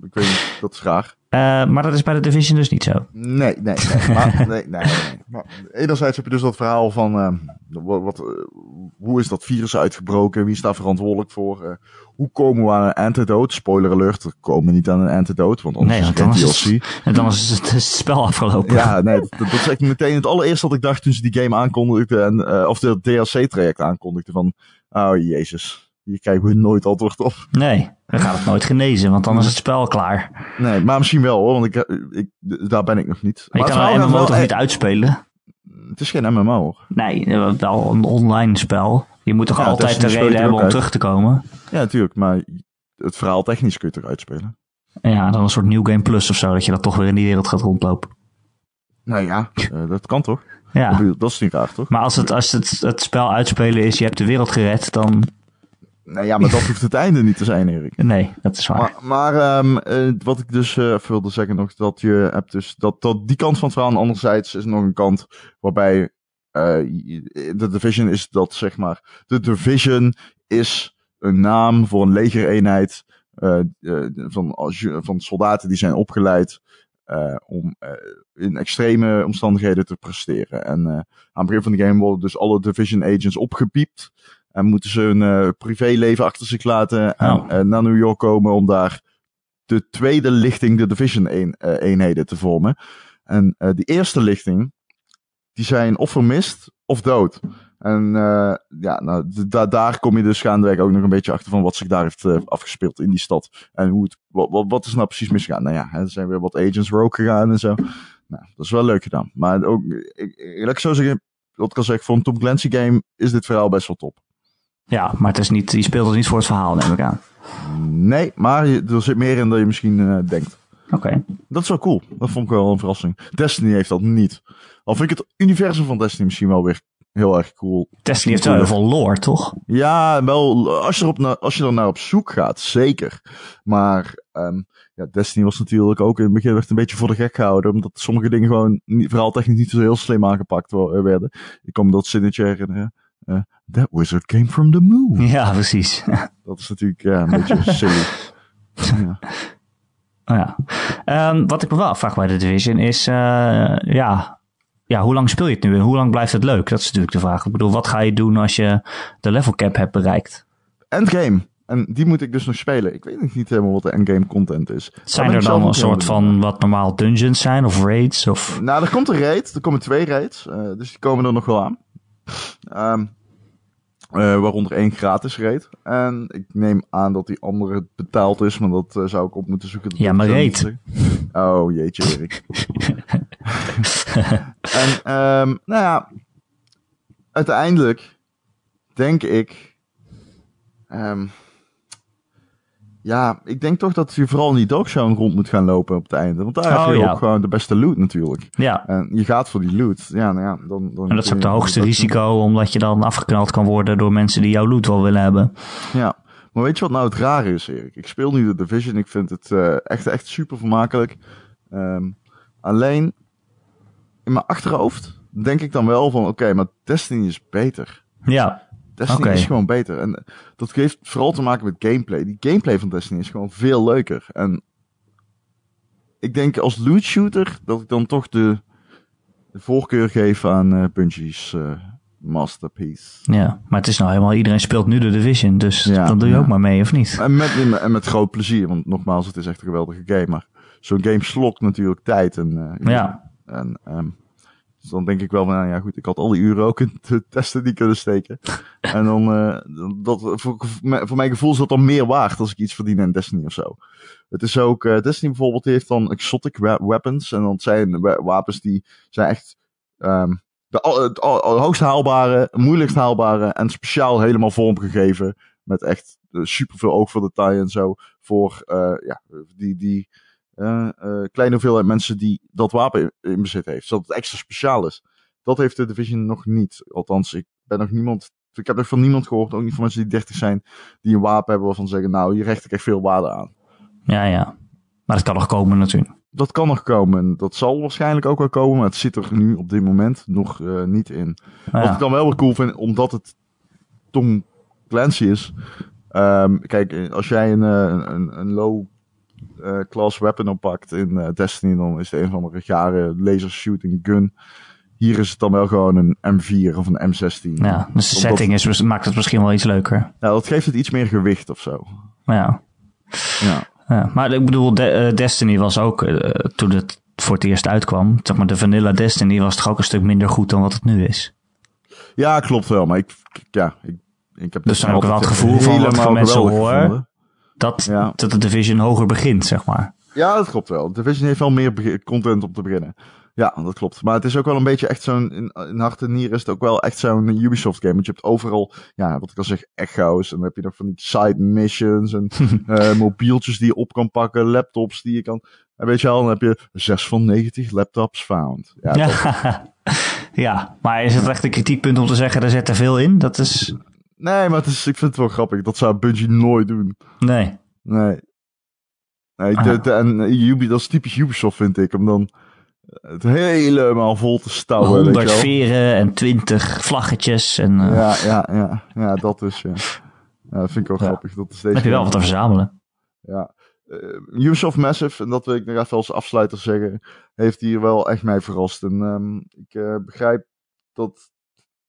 S2: ik weet niet, dat is raar.
S1: Eh, maar dat is bij de Division dus niet zo.
S2: Nee, nee, nee. Maar, nee, nee, nee. Maar enerzijds heb je dus dat verhaal van eh, wa- wat, eh, hoe is dat virus uitgebroken? Wie is daar verantwoordelijk voor? Eh, hoe komen we aan een antidote? Spoiler alert, we komen niet aan een antidote, want anders
S1: Nee, want
S2: is het
S1: dan
S2: geen
S1: is
S2: DLC.
S1: het, en dan is het, *laughs* is het spel afgelopen.
S2: Ja, nee, dat, dat is echt meteen het allereerste dat ik dacht toen ze die game aankondigden, en, eh, of dat DLC-traject aankondigden, van, oh jezus, hier krijgen we nooit antwoord op.
S1: Nee, dan gaat het nooit genezen, want dan is het spel klaar. Maar
S2: Nee, maar misschien wel hoor, want ik, eh, ik, daar ben ik nog niet.
S1: je
S2: het
S1: kan een
S2: verhaal
S1: MMO
S2: gaat
S1: toch
S2: wel-
S1: niet uitspelen?
S2: Het is geen MMO hoor.
S1: Nee, eh, wel een online spel. Je moet toch
S2: Ja,
S1: altijd
S2: Destiny
S1: de
S2: speelt
S1: reden
S2: er
S1: hebben om
S2: ook uit.
S1: terug te komen?
S2: Ja, natuurlijk, maar het verhaal technisch kun je het eruit spelen.
S1: Ja, dan een soort New Game Plus of zo, dat je dat toch weer in die wereld gaat rondlopen.
S2: Nou ja, eh, dat kan toch? Ik
S1: Ja,
S2: bedoel, Dat is niet raar toch?
S1: maar als het, als het, het spel uitspelen is, je hebt de wereld gered, dan...
S2: Nou ja, maar *laughs* dat hoeft het einde niet te zijn, Erik.
S1: Nee, dat is waar.
S2: Maar, maar ehm, eh, wat ik dus eh, even wilde zeggen nog, dat je hebt dus dat, dat die kant van het verhaal. En anderzijds is er nog een kant waarbij eh, de Division is dat zeg maar. De Division is een naam voor een legereenheid eh, eh, van, als je- van soldaten die zijn opgeleid eh, om eh, in extreme omstandigheden te presteren. En eh, aan het begin van de game worden dus alle Division agents opgepiept. En moeten ze hun eh, privéleven achter zich laten en
S1: Oh.
S2: eh, naar New York komen om daar de tweede lichting, de Division een, eh, eenheden te vormen. En eh, die eerste lichting, die zijn of vermist of dood. En eh, ja, nou, d- da- daar kom je dus gaandeweg ook nog een beetje achter van wat zich daar heeft eh, afgespeeld in die stad. En hoe het, wat, wat, wat is nou precies misgegaan? Nou ja, hè, er zijn weer wat agents rogue gegaan en zo. Nou, dat is wel leuk gedaan. Maar ook, e-, ik, ik- laat ik zo zeggen, wat ik al zeg, voor een Tom Clancy game is dit verhaal best wel top.
S1: Ja, maar het is niet, je speelt het niet voor het verhaal, neem ik aan.
S2: Nee, maar je, er zit meer in dan je misschien eh, denkt.
S1: Oké.
S2: Dat is wel cool. Dat vond ik wel een verrassing. Destiny heeft dat niet. Al vind ik het universum van Destiny misschien wel weer heel erg cool.
S1: Destiny heeft wel heel veel lore, toch?
S2: Ja, wel, als je, erop na, als je er naar op zoek gaat, zeker. Maar ehm, ja, Destiny was natuurlijk ook in het begin werd een beetje voor de gek gehouden. Omdat sommige dingen gewoon niet, vooral technisch niet zo heel slim aangepakt wo- eh, werden. Ik kan me dat zinnetje herinneren. eh, That wizard came from the moon.
S1: Ja, precies.
S2: Dat is natuurlijk ja, een
S1: *laughs*
S2: beetje silly. Ja.
S1: Oh ja. Ehm, wat ik me wel afvraag bij de Division is, eh, ja, ja, hoe lang speel je het nu en hoe lang blijft het leuk? Dat is natuurlijk de vraag. Ik bedoel, wat ga je doen als je de level cap hebt bereikt?
S2: Endgame. En die moet ik dus nog spelen. Ik weet nog niet helemaal wat de endgame content is. Daar ben
S1: Zijn
S2: ik
S1: er
S2: zelf
S1: dan een
S2: ook heel
S1: soort
S2: benieuwd
S1: van wat normaal dungeons zijn of raids? Of...
S2: Nou, er komt een raid. Er komen twee raids. eh, dus die komen er nog wel aan. Ehm, eh, waaronder één gratis raid. En ik neem aan dat die andere betaald is. Maar dat eh, zou ik op moeten zoeken. Dat
S1: Ja,
S2: durf ik
S1: maar
S2: zo niet te zeggen. Oh, jeetje
S1: *laughs*
S2: Erik. en ehm, nou ja. Uiteindelijk denk ik... ehm, Ja, ik denk toch dat je vooral in die dogshowing rond moet gaan lopen op het einde. Want daar
S1: Oh,
S2: heb je
S1: ja.
S2: ook gewoon de beste loot natuurlijk.
S1: Ja.
S2: En je gaat voor die loot. Ja, nou ja, dan, dan
S1: En dat is ook het hoogste
S2: dat-
S1: risico, omdat je dan afgeknald kan worden door mensen die jouw loot wel willen hebben.
S2: Ja, maar weet je wat nou het rare is, Erik? Ik speel nu de Division. Ik vind het eh, echt, echt super vermakelijk. Ehm, alleen in mijn achterhoofd denk ik dan wel van: oké, maar Destiny is beter.
S1: Ja,
S2: Destiny
S1: Oké.
S2: is gewoon beter. En eh, dat heeft vooral te maken met gameplay. Die gameplay van Destiny is gewoon veel leuker. En ik denk als loot shooter dat ik dan toch de, de voorkeur geef aan eh Bungie's eh, masterpiece.
S1: ja. Maar het is nou helemaal, iedereen speelt nu de Division, dus
S2: Ja,
S1: dan doe je
S2: ja.
S1: ook maar mee, of niet?
S2: En met, en met groot plezier, want nogmaals, het is echt een geweldige game. Maar zo'n game slokt natuurlijk tijd. En, eh,
S1: Ja.
S2: En, ehm, dus dan denk ik wel van, nou ja goed, ik had al die uren ook in de testen die kunnen steken. En dan, eh, dat, voor, voor mijn gevoel is dat dan meer waard als ik iets verdien in Destiny of zo. Het is ook, eh, Destiny bijvoorbeeld die heeft dan exotic we- weapons. En dat zijn we- wapens die zijn echt ehm, de, al- het al- al- hoogst haalbare, moeilijkst haalbare en speciaal helemaal vormgegeven. Met echt eh, superveel oog voor detail en zo. Voor eh, ja, die, die eh, eh, kleine hoeveelheid mensen die dat wapen in, in bezit heeft. Zodat het extra speciaal is. Dat heeft de Division nog niet. Althans, ik ben nog niemand. Ik heb nog van niemand gehoord, ook niet van mensen die 30 zijn, die een wapen hebben waarvan ze zeggen, nou, hier recht ik echt veel waarde aan.
S1: Ja, ja. Maar dat kan nog komen natuurlijk.
S2: Dat kan nog komen. en Dat zal waarschijnlijk ook wel komen, maar het zit er nu op dit moment nog eh, niet in.
S1: Nou
S2: Wat
S1: ja.
S2: ik dan wel weer cool vind, omdat het Tom Clancy is. Ehm, kijk, eh, als jij een, eh, een- een, een low-class weapon oppakt in eh, Destiny, dan is het een van de gare laser shooting gun. Hier is het dan wel gewoon een M4 of een M16.
S1: ja, dus de
S2: Omdat-
S1: setting is, maakt het misschien wel iets leuker.
S2: Ja, Nou, dat geeft het iets meer gewicht of zo.
S1: Maar ja.
S2: Ja.
S1: Ja, maar ik bedoel, De- eh, Destiny was ook, eh, toen het voor het eerst uitkwam, zeg maar de vanilla Destiny was toch ook een stuk minder goed dan wat het nu is.
S2: ja, klopt wel, maar ik, ja, ik, ik heb
S1: Dus dan ook wel het
S2: altijd
S1: gevoel van wat ik van
S2: helemaal
S1: mensen
S2: geweldig
S1: hoor.
S2: gevonden.
S1: Dat,
S2: Ja.
S1: dat de division hoger begint, zeg maar.
S2: Ja, dat klopt wel. Division heeft wel meer be- content om te beginnen. Ja, dat klopt. Maar het is ook wel een beetje echt zo'n... In, in hart en nieren is het ook wel echt zo'n Ubisoft game. Want je hebt overal, ja, wat ik al zeg, echo's. En dan heb je nog van die side
S1: *laughs*
S2: missions. En eh, mobieltjes die je op kan pakken. Laptops die je kan... En weet je wel, dan heb je 6 van 90 laptops found. Ja,
S1: Ja,
S2: dat-
S1: *laughs* ja maar is het echt een kritiekpunt om te zeggen, daar zit er veel in? Dat is,
S2: nee, maar het is, ik vind het wel grappig. Dat zou Bungie nooit doen.
S1: nee.
S2: Nee. nee
S1: Ah.
S2: de- de- en eh, Ubi, dat is typisch Ubisoft, vind ik. Om dan het helemaal vol te stouwen. weet je wel.
S1: 100 veren en 20 vlaggetjes en eh,
S2: Ja, ja, ja, ja, dat is ja. Ja, dat vind ik wel
S1: Ja.
S2: grappig. Dat is
S1: dan
S2: deze.
S1: heb je wel wat te verzamelen.
S2: Ja. Eh, Ubisoft Massive, en dat wil ik nog even als afsluiter zeggen, heeft hier wel echt mij verrast. En ehm, ik eh, begrijp dat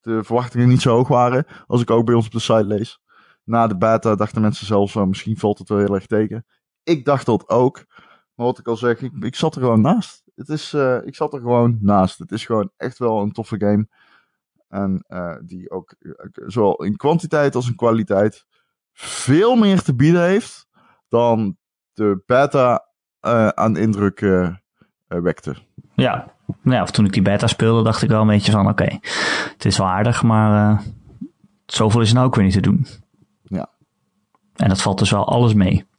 S2: de verwachtingen niet zo hoog waren, als ik ook bij ons op de site lees. Na de beta dachten mensen zelfs, oh, misschien valt het wel heel erg tegen. Ik dacht dat ook, maar wat ik al zeg, ik, ik zat er gewoon naast. Het is, eh, ik zat er gewoon naast. Het is gewoon echt wel een toffe game. En eh, die ook, eh, zowel in kwantiteit als in kwaliteit, veel meer te bieden heeft dan de beta eh, aan indruk eh, eh, wekte.
S1: Ja. Nou ja, of toen ik die beta speelde, dacht ik wel een beetje van, oké, het is wel aardig, maar eh, zoveel is nou ook weer niet te doen.
S2: Ja.
S1: En dat valt dus wel alles mee.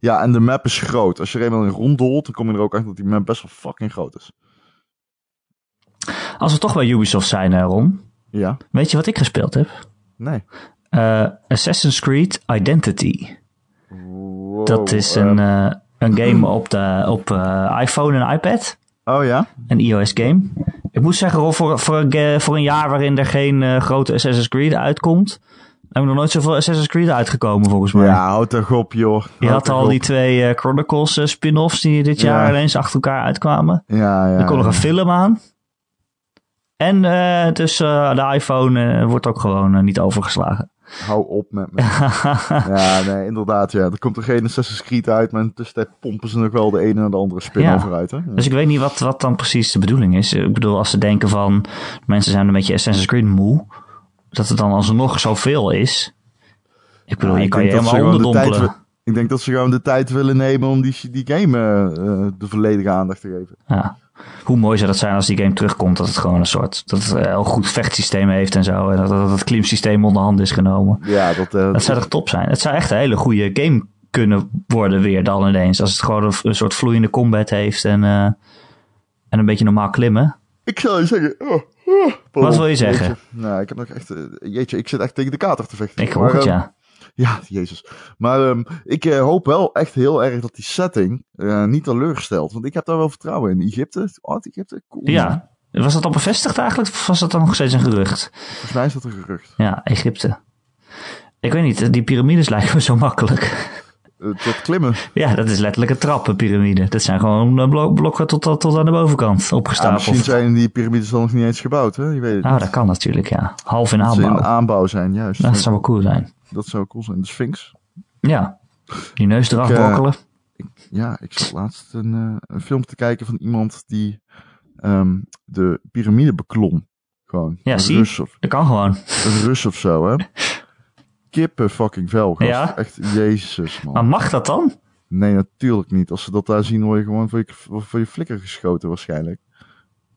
S2: Ja, en de map is groot. Als je er eenmaal in ronddolt, dan kom je er ook achter dat die map best wel fucking groot is.
S1: Als we toch bij Ubisoft zijn, eh, Ron,
S2: Ja,
S1: weet je wat ik gespeeld heb?
S2: nee.
S1: Eh, Assassin's Creed Identity.
S2: Wow,
S1: dat is
S2: eh,
S1: een, eh, een game op, de, op eh, iPhone en iPad.
S2: oh ja?
S1: Een iOS game. Ik moet zeggen, Rob, voor, voor, een ga- voor een jaar waarin er geen eh, grote Assassin's Creed uitkomt, hebben we nog nooit zoveel Assassin's Creed uitgekomen volgens mij.
S2: Ja, houd toch op, joh.
S1: Je
S2: Houd
S1: had
S2: toch
S1: al
S2: op.
S1: die twee eh, Chronicles eh, spin-offs die dit jaar
S2: Ja.
S1: ineens achter elkaar uitkwamen.
S2: Ja, ja.
S1: er komt nog
S2: ja.
S1: een film aan. En eh, dus eh, de iPhone eh, wordt ook gewoon eh, niet overgeslagen.
S2: Hou op
S1: *laughs*
S2: met me. ja, nee, inderdaad, ja. Er komt er geen Assassin's Creed uit, maar in de tussentijd pompen ze nog wel de ene en de andere spin-off
S1: Ja.
S2: eruit, hè? Ja.
S1: Dus ik weet niet wat, wat dan precies de bedoeling is. Ik bedoel, als ze denken van mensen zijn een beetje Assassin's Creed moe, dat het dan alsnog zoveel is. Ik bedoel,
S2: Ja,
S1: je
S2: ik
S1: kan je
S2: denk dat ze
S1: helemaal
S2: gewoon de tijd
S1: onderdompelen.
S2: wi- Ik denk dat ze gewoon de tijd willen nemen om die, die game eh, eh, de volledige aandacht te geven.
S1: Ja. Hoe mooi zou dat zijn als die game terugkomt, dat het gewoon een soort, dat het eh, een heel goed vechtsysteem heeft en zo. En dat, dat het klimsysteem onder handen is genomen.
S2: Ja, dat, eh,
S1: Dat zou toch top zijn? Het zou echt een hele goede game kunnen worden weer dan ineens. Als het gewoon een, een soort vloeiende combat heeft en, eh, en een beetje normaal klimmen.
S2: Ik zou je zeggen... oh, oh,
S1: Wat
S2: pardon.
S1: wil je zeggen?
S2: Jeetje. Nou, ik heb nog echt... eh, Jeetje, ik zit echt tegen de kater te vechten.
S1: Ik hoor het,
S2: ja.
S1: ja.
S2: Ja, jezus. Maar ehm, ik eh, hoop wel echt heel erg dat die setting eh, niet teleurstelt. Want ik heb daar wel vertrouwen in. Egypte, Oud-Egypte, cool.
S1: Ja. Was dat al bevestigd eigenlijk? Of was dat dan nog steeds een gerucht?
S2: Volgens mij is dat een gerucht.
S1: Ja, Egypte. Ik weet niet, die piramides *laughs* lijken me zo makkelijk.
S2: Eh, dat klimmen.
S1: Ja, dat is letterlijk een trap, een piramide. Dat zijn gewoon eh, blo- blokken tot, tot, tot aan de bovenkant
S2: Ja, Ah, misschien
S1: opgestapeld.
S2: zijn die piramides dan nog niet eens gebouwd, hè? Je weet het.
S1: Nou, dat kan natuurlijk, ja. Half in
S2: Dat ze
S1: aanbouw. Nou,
S2: in aanbouw zijn, juist.
S1: Dat zou wel cool zijn.
S2: Dat zou cool zijn. De Sphinx.
S1: Ja. Die neus eraf
S2: Ik, eh,
S1: brokkelen.
S2: Ja, ik zat laatst een, eh, een film te kijken van iemand die ehm, de piramide beklom. Gewoon.
S1: Ja,
S2: een
S1: zie.
S2: Rus of,
S1: Dat kan gewoon.
S2: een Rus of zo,
S1: *laughs*
S2: hè? Kippen fucking vel, gast.
S1: Ja.
S2: Echt, jezus, man.
S1: Maar mag dat dan?
S2: Nee, natuurlijk niet. Als ze dat daar zien, word je gewoon voor je, voor je flikker geschoten waarschijnlijk.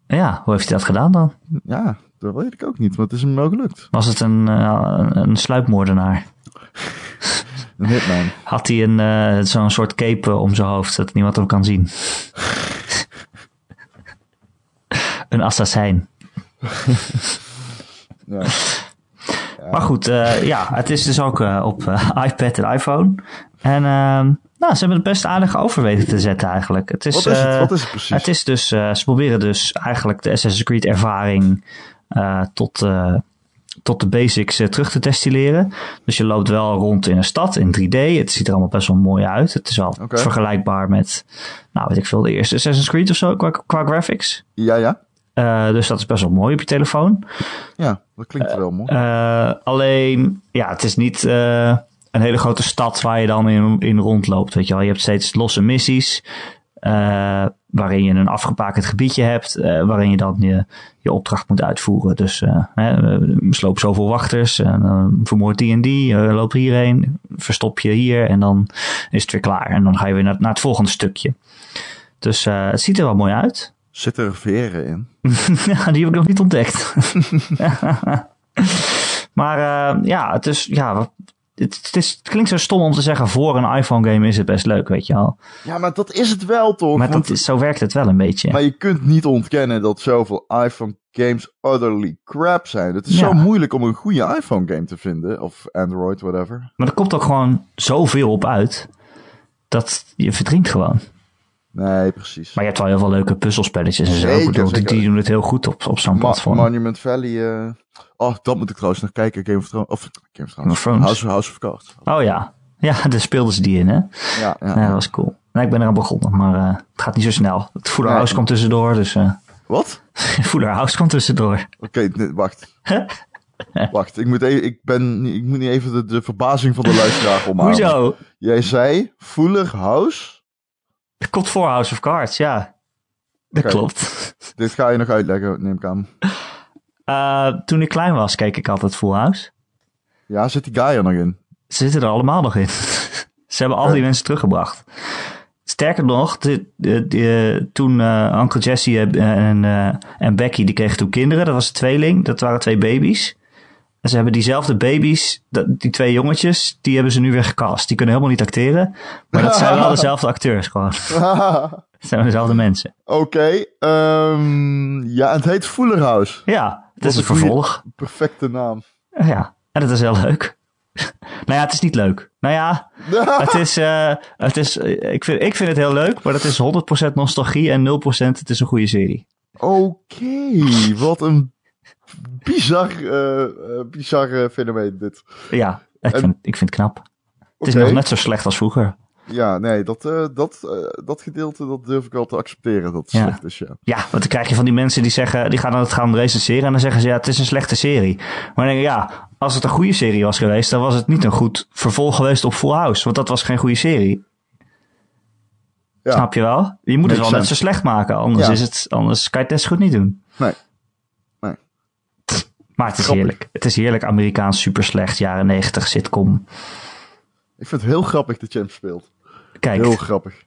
S1: Ja, hoe heeft hij dat gedaan dan?
S2: Ja, dat weet ik ook niet, want het is hem wel gelukt.
S1: Was het een, eh, een sluipmoordenaar?
S2: Een hitman.
S1: Had hij een, eh, zo'n soort cape eh, om zijn hoofd, dat niemand hem kan zien? *laughs* een assassijn.
S2: Ja.
S1: Maar goed, eh, ja, het is dus ook eh, op eh, *laughs* iPad en iPhone. En ehm, nou, ze hebben het best aardig over weten te zetten eigenlijk. Het is,
S2: Wat is het?
S1: eh,
S2: Wat is het precies?
S1: Het is dus, eh, ze proberen dus eigenlijk de Assassin's Creed ervaring eh, tot, eh, tot de basics eh, terug te destilleren. Dus je loopt wel rond in een stad in 3D. Het ziet er allemaal best wel mooi uit. Het is al
S2: Oké.
S1: vergelijkbaar met, nou weet ik veel, de eerste Assassin's Creed of zo qua, qua graphics.
S2: Ja, ja.
S1: Eh, dus dat is best wel mooi op je telefoon.
S2: Ja, dat klinkt wel mooi.
S1: Eh, alleen, ja, het is niet eh, een hele grote stad waar je dan in, in rondloopt. Weet je, wel. je hebt steeds losse missies. eh, waarin je een afgepakend gebiedje hebt. eh, waarin je dan je, je opdracht moet uitvoeren. Dus eh, hè, eh, sloop zoveel wachters. En, eh, vermoord die en die. eh, loop hierheen. Verstop je hier. En dan is het weer klaar. En dan ga je weer naar, naar het volgende stukje. Dus eh, het ziet er wel mooi uit.
S2: Zit er veren in?
S1: *laughs* Ja, die heb ik nog niet ontdekt. *laughs* maar eh, ja, het is, ja wat- het, het is, het klinkt zo stom om te zeggen, voor een iPhone-game is het best leuk, weet je wel.
S2: Ja, maar dat is het wel toch?
S1: Maar
S2: Want-
S1: dat is, zo werkt het wel een beetje.
S2: maar je kunt niet ontkennen dat zoveel iPhone games utterly crap zijn. Het is
S1: Ja.
S2: zo moeilijk om een goede iPhone game te vinden. Of Android, whatever.
S1: Maar er komt ook gewoon zoveel op uit, dat je verdrinkt gewoon.
S2: Nee, precies.
S1: Maar je hebt wel heel veel leuke puzzelspelletjes en zo. Ik
S2: Zeker,
S1: bedoel, die,
S2: zeker.
S1: die doen het heel goed op, op zo'n
S2: Ma-
S1: platform.
S2: Monument Valley. eh, Oh, dat moet ik trouwens nog kijken. Game of Thrones. Of Game of Thrones.
S1: of Thrones.
S2: House, House of Cards.
S1: oh ja. ja, *laughs* daar speelden ze die in, hè?
S2: Ja, ja.
S1: Ja, dat was cool. Nou, ik ben eraan begonnen, maar eh, het gaat niet zo snel. Het Fuller
S2: Nee.
S1: House komt tussendoor, dus... eh *laughs*
S2: Wat?
S1: Fuller House komt tussendoor.
S2: Oké, nee,
S1: *laughs*
S2: wacht. wacht, ik moet, e- ik, ben, niet- ik moet niet even de, de verbazing van de
S1: *laughs*
S2: luisteraar omarmen.
S1: Hoezo?
S2: Jij zei Fuller House.
S1: Het komt voor House of Cards, ja. Dat
S2: Oké.
S1: klopt.
S2: Dit ga je nog uitleggen, neem ik aan.
S1: Eh, toen ik klein was, keek ik altijd Full House.
S2: Ja, zit die guy er nog in? *laughs*
S1: Ze zitten er allemaal nog in. *laughs* Ze hebben al die mensen teruggebracht. Sterker nog, dit- dit- eh, toen eh Uncle Jesse en, en, eh, en Becky, die kregen toen kinderen. Dat was een tweeling, dat waren twee baby's. En ze hebben diezelfde baby's, dat- die twee jongetjes, die hebben ze nu weer gecast. Die kunnen helemaal niet acteren, maar dat zijn
S2: *laughs*
S1: wel dezelfde acteurs gewoon. *laughs*
S2: Oké,
S1: Dat zijn wel dezelfde mensen.
S2: ehm, ja, het heet Fuller House.
S1: Ja, het is
S2: een
S1: een
S2: goeie-
S1: vervolg.
S2: Perfecte naam.
S1: Oh Ja, en dat is heel leuk. *laughs* nou ja, het is niet leuk. Nou
S2: *laughs*
S1: ja, het is, eh, het is, eh, ik, vind, ik vind het heel leuk, maar dat is 100% nostalgie en 0% het is een goede serie.
S2: Oké, wat een bizar, eh, eh, bizar eh, fenomeen dit.
S1: Ja, ik
S2: En-
S1: vind, ik vind het knap. Het is
S2: Oké.
S1: nog net zo slecht als vroeger.
S2: Ja, nee, dat, eh, dat, eh, dat gedeelte dat durf ik wel te accepteren dat het
S1: Ja.
S2: slecht is, ja.
S1: Ja, want dan krijg je van die mensen die zeggen, die gaan dan het gaan recenseren en dan zeggen ze ja, het is een slechte serie. Maar dan denk ik, ja, als het een goede serie was geweest, dan was het niet een goed vervolg geweest op Full House, want dat was geen goede serie.
S2: Ja.
S1: Snap je wel? Je moet het
S2: Makes
S1: wel net
S2: sense.
S1: zo slecht maken, anders,
S2: Ja.
S1: is het, anders kan je het net zo goed niet doen.
S2: Nee. Nee.
S1: Maar het is
S2: Grappig.
S1: heerlijk. Het is heerlijk Amerikaans super slecht, jaren 90 sitcom.
S2: Ik vind het heel grappig dat je hem speelt.
S1: Kijk,
S2: Heel grappig.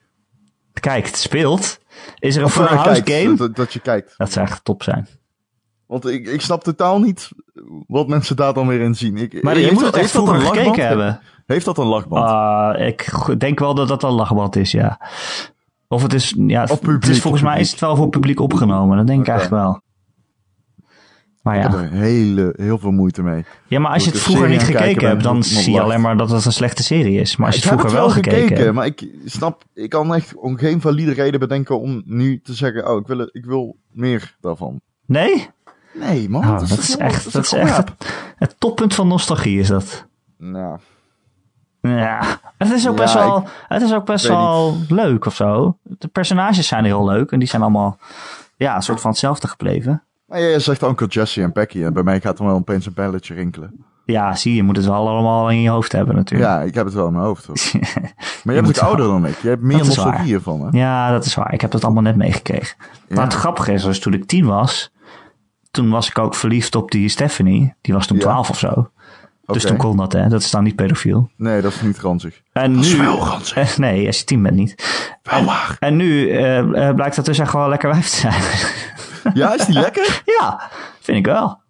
S1: kijk, het speelt. Is er een
S2: Of,
S1: Full
S2: eh,
S1: House
S2: kijkt,
S1: game?
S2: Dat, dat je kijkt.
S1: Dat zou echt top zijn.
S2: Want ik, ik snap totaal niet wat mensen daar dan weer in zien. Ik,
S1: Maar je
S2: heeft
S1: moet
S2: dat-
S1: het echt
S2: heeft dat
S1: vroeger
S2: een lachband?
S1: gekeken hebben.
S2: Heeft dat een lachband?
S1: Ah, ik g- denk wel dat dat een lachband is, ja. Of het is, ja,
S2: Of publiek,
S1: het is volgens mij is het wel voor publiek opgenomen. Dat denk ik
S2: Oké.
S1: eigenlijk wel. Maar
S2: Ik heb
S1: ja.
S2: er hele, heel veel moeite mee.
S1: ja, maar als je
S2: Moet
S1: het
S2: ik
S1: vroeger
S2: een
S1: niet
S2: serie
S1: gekeken
S2: kijken
S1: hebt,
S2: waar
S1: dan
S2: iemand
S1: zie je
S2: lacht?
S1: alleen maar dat het een slechte serie is. Maar als je
S2: ik
S1: het
S2: heb het
S1: vroeger
S2: wel gekeken,
S1: hebt-
S2: maar ik snap, ik kan echt om geen valide reden bedenken om nu te zeggen, oh, ik wil, ik wil meer daarvan.
S1: Nee?
S2: Nee, man.
S1: Oh, dat
S2: toch
S1: is
S2: helemaal-
S1: echt, dat is
S2: toch
S1: echt
S2: crap?
S1: het, het toppunt van nostalgie is dat.
S2: Nou,
S1: Ja, het is ook
S2: Ja,
S1: best
S2: ik
S1: wel, het is ook best
S2: weet
S1: wel leuk of zo. De personages zijn heel leuk en die zijn allemaal ja, een soort van hetzelfde gebleven.
S2: maar jij zegt Uncle Jesse en Becky en bij mij gaat er wel opeens een belletje rinkelen.
S1: Ja, zie je, je moet het wel allemaal in je hoofd hebben natuurlijk.
S2: Ja, ik heb het wel in mijn hoofd. *laughs* Hoor. Maar
S1: moet
S2: jij bent ook
S1: wel-
S2: ouder dan ik. Je hebt meer
S1: Dat is
S2: nostalgie hiervan, hè?
S1: *laughs* Ja, dat is waar. Ik heb dat allemaal net meegekregen. Maar het grappige is, dus toen ik tien was, toen was ik ook verliefd op die Stephanie. Die was toen
S2: Ja.
S1: twaalf of zo. Dus
S2: Oké.
S1: toen kon dat, hè. Dat is dan niet pedofiel.
S2: Nee, dat is niet ranzig.
S1: En
S2: Dat is
S1: nu...
S2: wel ranzig.
S1: Eh, *laughs* Nee, als je tien bent niet.
S2: Wel waar.
S1: En nu eh, eh, blijkt dat dus echt wel lekker wijf te zijn.
S2: *laughs*
S1: *laughs*
S2: Ja, is die lekker? *laughs*
S1: ja, vind ik wel.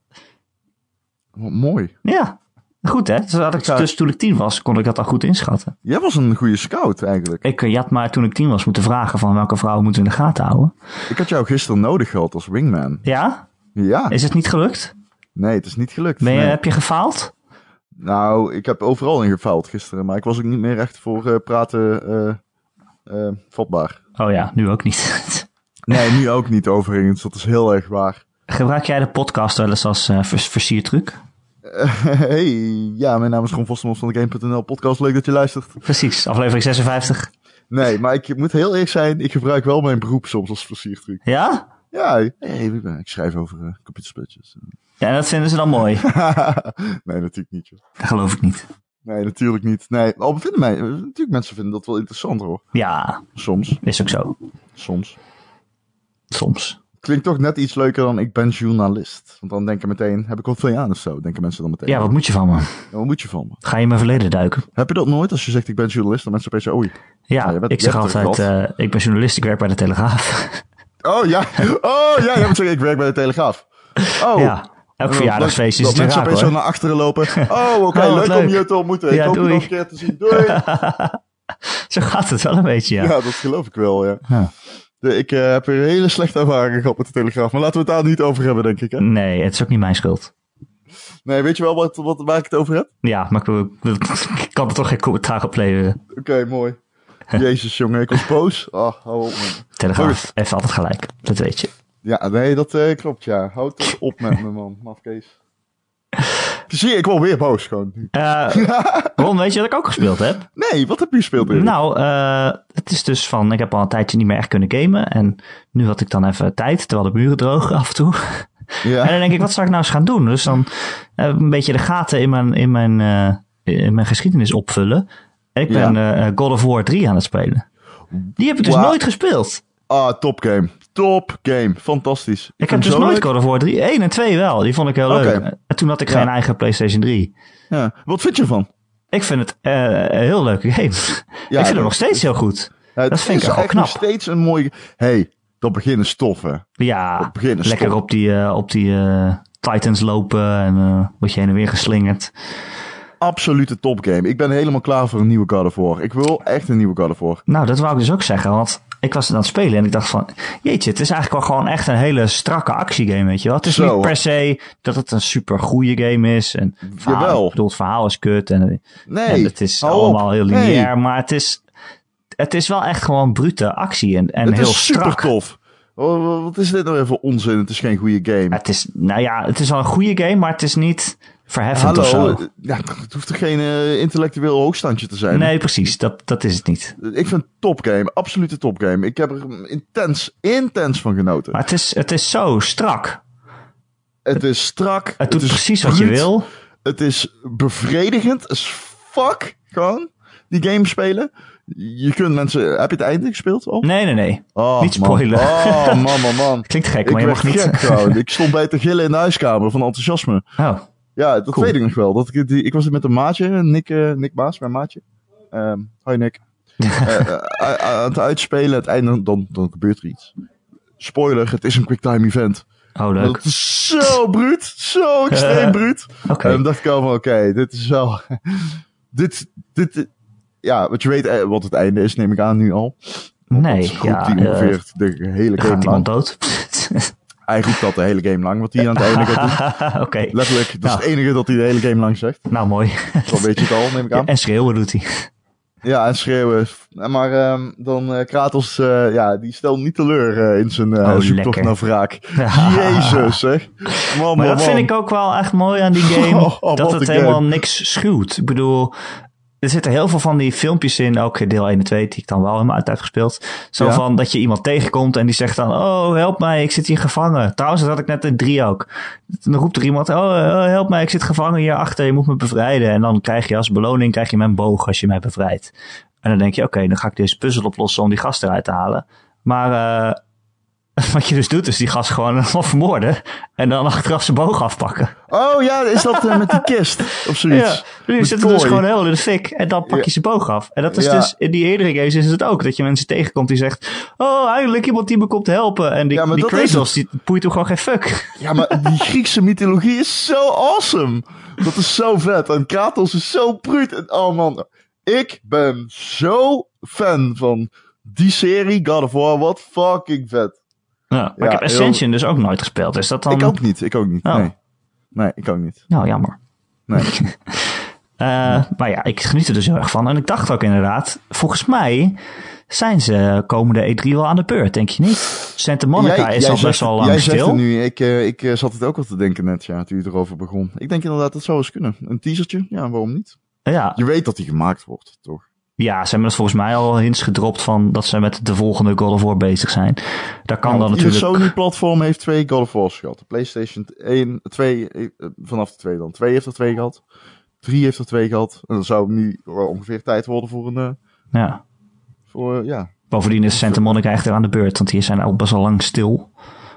S2: Wat mooi.
S1: Ja, goed hè. Dus, had ik,
S2: zou-
S1: dus toen ik tien was, kon ik dat al goed inschatten.
S2: Jij was een goede scout eigenlijk.
S1: Ik eh, je had maar toen ik tien was moeten vragen van welke vrouwen moeten we in de gaten houden.
S2: Ik had jou gisteren nodig gehad als wingman.
S1: Ja,
S2: Ja,
S1: is het niet gelukt?
S2: nee, het is niet gelukt.
S1: Ben je,
S2: Nee.
S1: Heb je gefaald?
S2: Nou, ik heb overal in gefaald gisteren, maar ik was ook niet meer echt voor eh, praten eh, eh, vatbaar.
S1: Oh ja, nu ook niet. *laughs*
S2: Nee, nu ook niet overigens, dat is heel erg waar.
S1: Gebruik jij de podcast wel eens als eh, vers- versiertruc?
S2: Eh, *laughs* hey, ja, mijn naam is Ron Vostermans van de Game.nl podcast, leuk dat je luistert.
S1: Precies, aflevering 56.
S2: Nee, maar ik moet heel eerlijk zijn, ik gebruik wel mijn beroep soms als versiertruc.
S1: Ja?
S2: Ja, hey, ik ben- ik schrijf over eh, computerspelletjes. *laughs*
S1: Ja, en dat vinden ze dan mooi.
S2: nee, natuurlijk niet. Joh.
S1: *laughs* Dat geloof ik niet.
S2: Nee, natuurlijk niet. Nee, al vinden mij, natuurlijk mensen vinden dat wel interessant hoor.
S1: Ja,
S2: Soms,
S1: is ook zo.
S2: soms.
S1: Soms.
S2: Klinkt toch net iets leuker dan ik ben journalist. Want dan denken meteen, heb ik wat van je aan of zo? Denken mensen dan meteen.
S1: Ja, wat moet je van me?
S2: Ja, Wat moet je van me?
S1: Ga je in mijn verleden duiken?
S2: Heb je dat nooit als je zegt ik ben journalist? Dan mensen opeens zeggen, oei.
S1: Ja,
S2: Ja, je bent-
S1: ik
S2: je
S1: zeg
S2: hebt er
S1: altijd, eh, ik ben journalist, ik werk bij de Telegraaf.
S2: Oh
S1: *laughs*
S2: ja, oh ja, jij moet zeggen ik werk bij de Telegraaf. Oh.
S1: ja, elk verjaardagsfeestje is het
S2: Dat
S1: weer
S2: mensen
S1: raak
S2: opeens zo
S1: hoor.
S2: naar achteren
S1: *laughs*
S2: lopen. Oh, oké,
S1: Oh, wat
S2: leuk, om
S1: leuk.
S2: je te ontmoeten.
S1: Ja,
S2: ik hoop je
S1: doei.
S2: nog een keer te zien.
S1: *laughs*
S2: Doei. ja.
S1: Zo gaat het wel een beetje, ja.
S2: dat geloof ik wel, ja.
S1: Ja.
S2: De- ik eh, heb er hele slechte ervaringen gehad met de Telegraaf. Maar laten we het daar niet over hebben, denk ik. Hè?
S1: Nee, het is ook niet mijn schuld.
S2: Nee, weet je wel wat, wat, waar ik het over heb?
S1: Ja, maar ik, wil- *laughs* ik kan er toch geen commentaar op leveren.
S2: Oké,
S1: *laughs*
S2: mooi. Jezus, jongen, ik was boos. Ah, hou op, man.
S1: Telegraaf, even altijd gelijk. Dat weet je.
S2: Ja, nee, dat eh, klopt, ja. Houd toch op met me, man. *laughs* Mafkees. Zie je, ik word weer boos gewoon. *laughs*
S1: Eh Ron, weet je wat ik ook gespeeld heb?
S2: Nee, wat heb je gespeeld, Erik?
S1: Nou, eh, het is dus van, ik heb al een tijdje niet meer echt kunnen gamen. En nu had ik dan even tijd, terwijl de muren drogen af en toe. En
S2: ja.
S1: dan denk ik, wat zou ik nou eens gaan doen? Dus dan heb ik een beetje de gaten in mijn, in mijn, eh, in mijn geschiedenis opvullen. En ik ben eh, God of War 3 aan het spelen. Die heb ik dus
S2: Wauw.
S1: nooit gespeeld.
S2: Ah, top game. Top game. Fantastisch.
S1: Ik heb
S2: vind
S1: dus
S2: het zo
S1: nooit
S2: leuk.
S1: God of War 3. 1 en 2 wel, die vond ik heel leuk.
S2: Oké.
S1: En toen had ik
S2: Ja.
S1: geen eigen PlayStation 3.
S2: Ja. Wat vind je ervan?
S1: Ik vind het eh, een heel leuke game. *laughs* ik vind
S2: dat
S1: het nog steeds heel goed.
S2: Ja, het
S1: dat vind ik
S2: is
S1: toch wel
S2: echt nog
S1: knap.
S2: steeds een mooie... hey, dat begin is tof, hè.
S1: Ja,
S2: Dat begin is
S1: lekker
S2: tof.
S1: op die, eh, op die eh, Titans lopen en eh word je heen en weer geslingerd.
S2: Absolute top game. Ik ben helemaal klaar voor een nieuwe God of War. Ik wil echt een nieuwe God of War.
S1: Nou, dat wou ik dus ook zeggen, want ik was het aan het spelen en ik dacht van, jeetje, het is eigenlijk wel gewoon echt een hele strakke actiegame, weet je wel. Het is
S2: Zo.
S1: niet per se dat het een super goede game is en het verhaal,
S2: Jawel.
S1: ik bedoel, het verhaal is kut en,
S2: Nee,
S1: en het is
S2: hou op.
S1: allemaal heel
S2: Nee,
S1: lineair, maar het is, het is wel echt gewoon brute actie en, en
S2: het
S1: heel
S2: is super
S1: strak.
S2: tof. Oh, wat is dit nou even onzin? Het is geen goede game.
S1: Het is, nou ja, het is wel een goede game, maar het is niet verheffend of
S2: Hallo,
S1: zo.
S2: eh, ja, het hoeft toch geen eh, intellectueel hoogstandje te zijn?
S1: Nee, precies, dat, dat is het niet.
S2: Ik vind het topgame, absolute topgame. Ik heb er intens, intens van genoten.
S1: Maar het is, het is zo strak.
S2: het is strak.
S1: Het doet
S2: is
S1: precies wat je
S2: bruut,
S1: wil.
S2: Het is bevredigend as fuck, gewoon, die game spelen. Je kunt mensen... Heb je het einde gespeeld al?
S1: Nee, nee, nee.
S2: Oh,
S1: niet
S2: man.
S1: spoilen.
S2: Oh, man, man,
S1: *laughs*
S2: man.
S1: Klinkt gek,
S2: Ik
S1: maar je
S2: werd
S1: mag niet. *laughs*
S2: gek gewoon. Ik stond bij te gillen in de huiskamer van enthousiasme.
S1: Oh,
S2: Ja, dat
S1: Cool.
S2: weet ik nog wel. Dat ik, die, ik was er met een maatje, Nick, eh, Nick Baas, mijn maatje. Ehm hoi
S1: *laughs*
S2: Nick. Eh, eh, a- a- aan het uitspelen, het einde, dan, dan gebeurt er iets. Spoiler, het is een quicktime event.
S1: Oh, leuk.
S2: Dat
S1: Oké.
S2: is zo bruut. Zo
S1: *laughs*
S2: extreem bruut. En dan dacht ik al van, oké, dit is wel... *laughs* dit, dit... Ja, want je weet eh, wat het einde is, neem ik aan nu al. Want dat is
S1: Nee,
S2: een groep
S1: ja.
S2: die
S1: eh,
S2: ongeveer de hele game
S1: gaat
S2: lang...
S1: iemand dood? *laughs* Ah,
S2: Hij roept dat de hele game lang, wat hij aan het einde gaat doen.
S1: Oké.
S2: Letterlijk, dat
S1: Nou.
S2: is het enige dat hij de hele game lang zegt.
S1: Nou, mooi.
S2: Zo weet je het al, neem ik aan.
S1: en schreeuwen doet
S2: Oh,
S1: hij.
S2: Ja, en schreeuwen. Maar ehm, dan eh, Kratos, eh, ja, die stelt niet teleur eh, in zijn eh,
S1: Oh,
S2: zoektocht
S1: lekker.
S2: naar
S1: *laughs*
S2: wraak. Jezus, zeg. Man,
S1: Maar
S2: man,
S1: dat vind
S2: man.
S1: ik ook wel echt mooi
S2: *laughs*
S1: aan die game.
S2: Oh, wat
S1: dat het
S2: een
S1: helemaal
S2: game.
S1: niks schuwt. Ik bedoel, er zitten heel veel van die filmpjes in, ook deel 1 en 2, die ik dan wel helemaal uit heb gespeeld. Zo
S2: Ja.
S1: van dat je iemand tegenkomt en die zegt dan, oh help mij, ik zit hier gevangen. Trouwens, dat had ik net in 3 ook. Dan roept er iemand, oh eh, help mij, ik zit gevangen hierachter, je moet me bevrijden. En dan krijg je als beloning, krijg je mijn boog als je mij bevrijdt. En dan denk je, oké, dan ga ik deze puzzel oplossen om die gast eruit te halen. Maar eh, *laughs* wat je dus doet, is die gast gewoon *laughs* vermoorden. En dan *laughs* achteraf zijn boog afpakken.
S2: Oh ja, is dat eh, met die kist of zoiets?
S1: Ja, nu
S2: Met
S1: zit het dus
S2: kooi.
S1: gewoon heel in de fik. En dan pak je zijn boog af. En dat is
S2: Ja.
S1: dus, in die eerdere games is het ook. Dat je mensen tegenkomt die zegt... Oh, eindelijk iemand die me komt helpen. En die,
S2: Ja, maar
S1: die
S2: dat is
S1: Kratos, die poeit hem gewoon geen fuck.
S2: Ja, maar die Griekse mythologie is zo awesome. Dat is zo vet. En Kratos is zo bruut. En, oh man, ik ben zo fan van die serie God of War. Wat fucking vet.
S1: Ja, *laughs* maar ik
S2: Ja,
S1: heb Ascension dus ook nooit gespeeld. Is dat dan...
S2: Ik ook niet, ik ook niet.
S1: Oh.
S2: Nee. nee, ik ook niet.
S1: Nou, jammer.
S2: Nee.
S1: *laughs* Eh, Maar ja, ik geniet er dus heel erg van. En ik dacht ook inderdaad... Volgens mij zijn ze komende E3 wel aan de beurt. Denk je niet? Santa Monica is al
S2: zegt
S1: best wel
S2: het-
S1: lang
S2: jij
S1: stil.
S2: Zegt het nu, ik, eh, ik eh, zat het ook al te denken net, ja, toen je erover begon. Ik denk inderdaad, dat zou eens kunnen. Een teasertje, ja, waarom niet?
S1: Ja,
S2: Je weet dat die gemaakt wordt, toch?
S1: Ja, ze hebben het volgens mij al hints gedropt van dat ze met de volgende God of War bezig zijn. Daar kan
S2: Ja,
S1: dan
S2: want ieder
S1: natuurlijk.
S2: Sony-platform heeft twee God of War's gehad. De PlayStation 1, 2, eh, eh, vanaf de 2 dan. 2 heeft er twee gehad. 3 heeft er twee gehad. En dan zou nu wel ongeveer tijd worden voor een, eh,
S1: Ja.
S2: voor, eh, ja.
S1: Bovendien is Santa Monica echt er aan de beurt, want die zijn al best wel lang stil.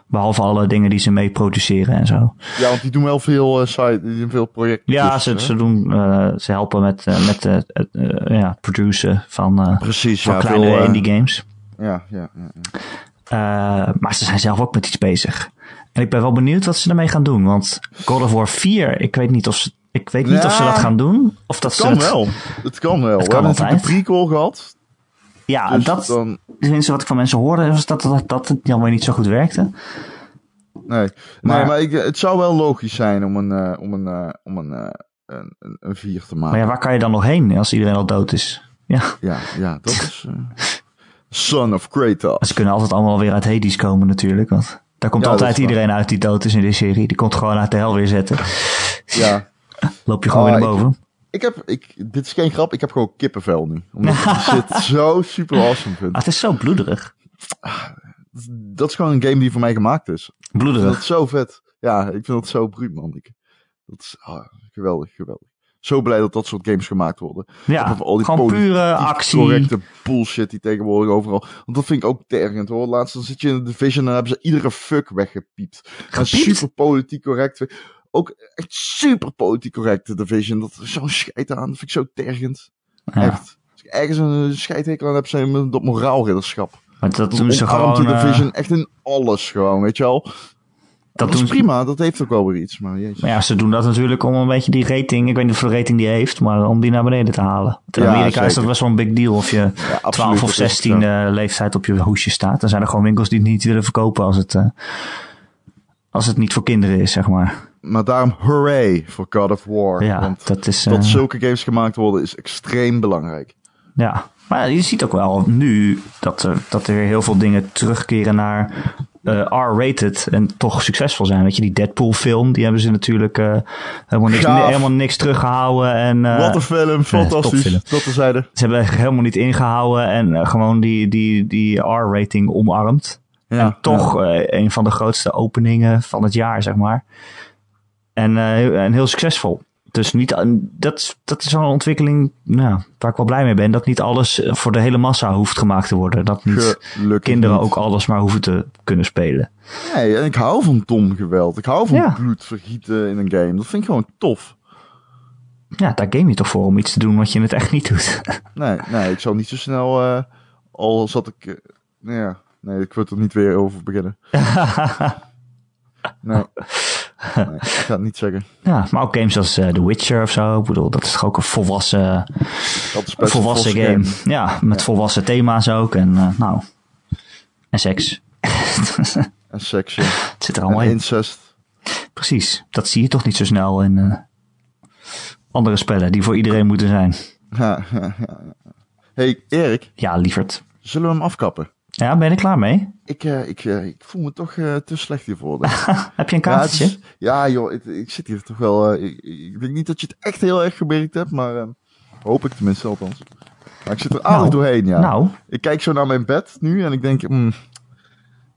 S1: Behalve alle dingen die ze mee produceren en zo.
S2: Ja, want die doen wel veel eh, side, die doen veel projecten.
S1: Ja,
S2: Dus,
S1: ze,
S2: eh,
S1: ze, doen, eh, ze helpen met, eh, met eh, het eh, ja, produceren van, eh,
S2: Precies,
S1: van
S2: ja.
S1: kleine
S2: veel, eh,
S1: indie games.
S2: ja, ja, ja, ja.
S1: Eh, maar ze zijn zelf ook met iets bezig. En ik ben wel benieuwd wat ze daarmee gaan doen. Want God of War 4, ik weet niet of ze, ik weet niet of ze
S2: Ja,
S1: dat gaan doen. Of dat
S2: Het
S1: ze
S2: kan
S1: het-
S2: wel. Het kan wel.
S1: Het
S2: We
S1: kan
S2: hebben natuurlijk
S1: altijd.
S2: een prequel gehad.
S1: Ja,
S2: Dus
S1: dat,
S2: dan,
S1: tenminste wat ik van mensen hoorde, was dat, dat, dat het dan weer niet zo goed werkte.
S2: Nee,
S1: Maar-
S2: nee, maar ik, het zou wel logisch zijn om een, eh, om een, eh, om een, eh, een, een, een vier te
S1: Maar
S2: maken.
S1: ja, waar kan je dan nog heen als iedereen al dood is? Ja, *laughs*
S2: Ja, ja, dat is. eh, Son of Kratos.
S1: ze kunnen altijd allemaal weer uit Hades komen natuurlijk. Want daar komt
S2: Ja, dat
S1: altijd
S2: is waar.
S1: iedereen uit die dood is in deze serie. Die komt gewoon uit de hel weer zetten.
S2: Ja.
S1: Loop je gewoon
S2: Ah,
S1: weer naar
S2: ik-
S1: boven.
S2: Ik heb, ik, dit is geen grap, ik heb gewoon kippenvel nu. Omdat ik die
S1: *laughs*
S2: shit zo super awesome
S1: Ah,
S2: vind.
S1: het is zo bloederig.
S2: Dat is gewoon een game die voor mij gemaakt is. Ik vind
S1: Bloederig.
S2: dat zo vet. Ja, ik vind dat zo bruut, man. Ik, dat is ah, geweldig, geweldig. Zo blij dat dat soort games gemaakt worden.
S1: Ja,
S2: Of al die
S1: gewoon
S2: politiek
S1: pure
S2: Die
S1: actie.
S2: Correcte bullshit die tegenwoordig overal. Want dat vind ik ook tergend hoor. Laatst dan zit je in de division en dan hebben ze iedere fuck weggepiept. En
S1: Gepiept?
S2: super politiek correct. Ook echt super politiek correcte division. Dat is zo'n scheid aan. Dat vind ik zo tergend.
S1: Ja,
S2: Echt. Als ik ergens een scheidhekel aan heb, zijn we dat moraalridderschap.
S1: maar dat
S2: Dat
S1: doen ze
S2: omarmt
S1: gewoon...
S2: de
S1: eh,
S2: division echt in alles gewoon, weet je wel. Dat,
S1: dat
S2: is
S1: doen ze,
S2: prima, dat heeft ook wel weer iets. Maar jezus.
S1: maar ja, ze doen dat natuurlijk om een beetje die rating... Ik weet niet hoeveel rating die heeft, maar om die naar beneden te halen. Want in
S2: Ja,
S1: Amerika is dat
S2: zeker.
S1: best wel een big deal of je...
S2: Ja, absoluut,
S1: 12 of
S2: dat is ook
S1: 16
S2: zo.
S1: eh, leeftijd op je hoesje staat. Dan zijn er gewoon winkels die het niet willen verkopen als het, eh, als het niet voor kinderen is, zeg maar.
S2: Maar daarom hooray voor God of War.
S1: Ja,
S2: want
S1: dat is... eh,
S2: dat zulke games gemaakt worden is extreem belangrijk.
S1: ja. Maar je ziet ook wel nu dat er, dat er weer heel veel dingen terugkeren naar eh, R-rated en toch succesvol zijn. Weet je, die Deadpool film, die hebben ze natuurlijk eh, helemaal, niks,
S2: Gaaf.
S1: helemaal niks teruggehouden. En, eh,
S2: Wat een film, fantastisch.
S1: topfilm.
S2: Dat te zeiden.
S1: ze hebben echt helemaal niet ingehouden en eh, gewoon die, die, die R-rating omarmd. en toch eh, een van de grootste openingen van het jaar, zeg maar. En, eh, heel- en heel succesvol. Dus niet, aan- dat, is- dat is wel een ontwikkeling nou, waar ik wel blij mee ben. Dat niet alles eh, voor de hele massa hoeft gemaakt te worden. Dat niet
S2: Gelukkig
S1: kinderen
S2: niet.
S1: ook alles maar hoeven te kunnen spelen.
S2: Nee, en ik hou van dom geweld. Ik hou van
S1: Ja.
S2: bloed vergieten in een game. Dat vind ik gewoon tof.
S1: Ja, daar game je toch voor om iets te doen wat je in het echt niet doet. *laughs*
S2: Nee, nee ik zou niet zo snel... eh,
S1: *laughs*
S2: al zat ik... eh, nou ja, nee, ik wil er niet weer over beginnen. Nee. Nee, ik ga het niet zeggen.
S1: Ja, maar ook games als eh, The Witcher of zo. Ik bedoel, dat is toch ook een volwassen,
S2: Dat is best een
S1: volwassen
S2: volwassen
S1: game. Ja, met volwassen thema's ook. En eh, nou, en seks. *laughs* het
S2: En seks, ja.
S1: zit er allemaal
S2: En
S1: in.
S2: incest.
S1: Precies. Dat zie je toch niet zo snel in eh, andere spellen die voor iedereen moeten zijn.
S2: Ja, ja, ja. hey, Erik,
S1: Ja, lieverd.
S2: zullen we hem afkappen?
S1: Ja, ben je er klaar mee?
S2: Ik, eh, ik, eh, ik voel me toch eh, te slecht hiervoor. denk ik.
S1: Heb je een
S2: Ja, het
S1: kaartje?
S2: is- ja, joh, ik, ik zit hier toch wel. eh, ik, ik denk niet dat je het echt heel erg gemerkt hebt, maar eh, hoop ik tenminste althans. Maar ik zit er aardig
S1: Nou,
S2: doorheen, ja.
S1: Nou,
S2: Ik kijk zo naar mijn bed nu en ik denk, hmm,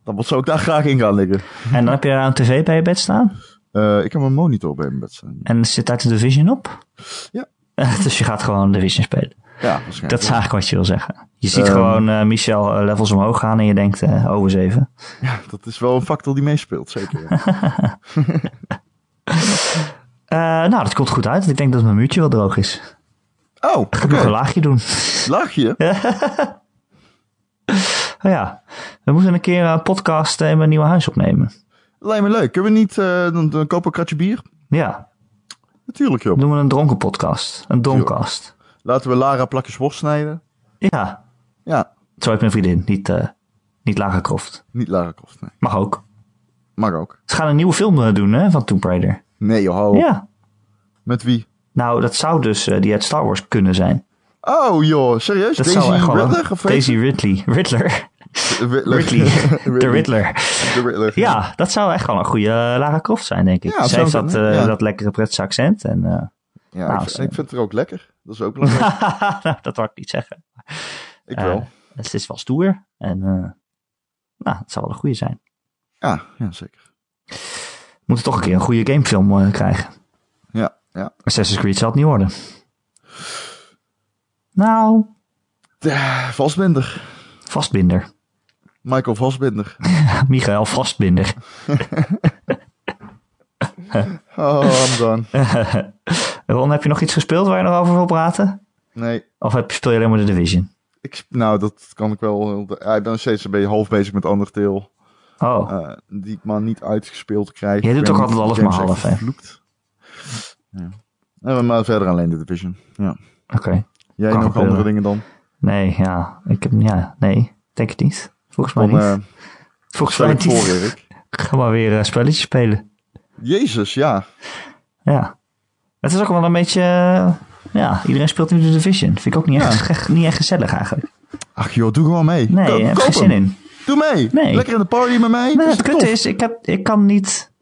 S2: dan wat zou ik daar graag in gaan liggen?
S1: en dan heb je daar een tv bij je bed staan.
S2: Eh, ik heb een monitor bij mijn bed staan.
S1: En zit daar de Division op.
S2: Ja.
S1: *laughs* dus je gaat gewoon Division spelen.
S2: Ja, waarschijnlijk.
S1: Dat is eigenlijk wat je wil zeggen. Je ziet
S2: Ehm.
S1: gewoon eh, Michel eh, levels omhoog gaan en je denkt eh over zeven.
S2: Ja, dat is wel een factor die meespeelt, zeker.
S1: *laughs*
S2: ja.
S1: Eh, nou, dat komt goed uit. Ik denk dat mijn muurtje wel droog is.
S2: oh,
S1: Ik moet nog
S2: oké.
S1: een laagje doen.
S2: lach je?
S1: Oh ja, we moeten een keer een podcast eh, in mijn nieuwe huis opnemen.
S2: Lijkt me leuk. Kunnen we niet eh, dan, dan kopen we een kratje bier?
S1: Ja,
S2: Natuurlijk, joh.
S1: dan doen we een dronken podcast. Een donkast.
S2: Laten we Lara plakjes worst snijden.
S1: Ja,
S2: Ja,
S1: zo heet mijn vriendin. Niet, eh niet Lagerkroft.
S2: niet Lara Croft, nee.
S1: Mag ook.
S2: Mag ook.
S1: Ze gaan een nieuwe film eh, doen hè, van Tomb Raider.
S2: Nee, joh, hou op.
S1: Ja.
S2: Met wie?
S1: Nou, dat zou dus eh, die uit Star Wars kunnen zijn.
S2: Oh, joh, serieus?
S1: Dat zou
S2: Daisy
S1: echt wel een-
S2: Ridley? Of
S1: Daisy Ridley. Riddler.
S2: Ridley. *laughs*
S1: Ridley. De Riddler.
S2: De Riddler.
S1: Ja, dat zou echt wel een goede eh, Lara Croft zijn, denk ik.
S2: Ja,
S1: Ze
S2: zou
S1: heeft dat,
S2: kunnen,
S1: eh,
S2: ja.
S1: dat lekkere pretse accent. En, eh,
S2: Ja,
S1: Nou,
S2: ik,
S1: ze-
S2: ik vind het er ook lekker. Dat is
S1: *laughs*
S2: ook belangrijk.
S1: nou, dat wou ik niet zeggen.
S2: ik
S1: Eh,
S2: wel.
S1: Dus het is wel stoer. En eh, nou, het zou wel een goede zijn.
S2: Ja, ja, zeker.
S1: We moeten toch een keer een goede gamefilm eh, krijgen.
S2: Ja, ja.
S1: Assassin's Creed zal het niet worden. Nou,
S2: De- Vastbinder.
S1: vastbinder. *laughs*
S2: Michael Vastbinder.
S1: Michael Vastbinder.
S2: Oh, I'm done.
S1: Ron, heb je nog iets gespeeld waar je nog over wil praten?
S2: Nee.
S1: Of heb, speel je alleen maar de Division?
S2: Ik, sp- nou, dat kan ik wel. heel de- Ja, ik ben nog steeds een beetje half bezig met Undertale.
S1: Oh,
S2: eh die ik maar niet uitgespeeld krijg.
S1: Jij doet
S2: Ik ben
S1: ook
S2: niet
S1: altijd alles
S2: die games
S1: maar half,
S2: echt
S1: hè?
S2: vervloekt. Ja. Eh, maar verder alleen de Division. Ja.
S1: oké.
S2: Jij
S1: Kan
S2: nog
S1: gebeuren.
S2: andere dingen dan?
S1: Nee, ja. Ik heb, ja, nee. Ik Denk het niet. Volgens mij
S2: Dan
S1: niet.
S2: eh
S1: Volgens
S2: stel
S1: mij
S2: ik voor,
S1: *laughs* niet.
S2: Erik.
S1: Ga maar weer eh, spelletjes spelen.
S2: Jezus, ja.
S1: Ja. Het is ook wel een beetje... eh, Ja, iedereen speelt nu de Division. Vind ik ook niet echt, echt- niet echt gezellig eigenlijk.
S2: Ach joh, doe gewoon mee.
S1: Nee,
S2: Ko-
S1: ik heb
S2: koop
S1: geen zin
S2: hem.
S1: in.
S2: Doe mee.
S1: Nee.
S2: Lekker in de party met mij.
S1: Nee,
S2: Dat
S1: het
S2: is tof.
S1: kutte is, ik, heb, ik kan niet...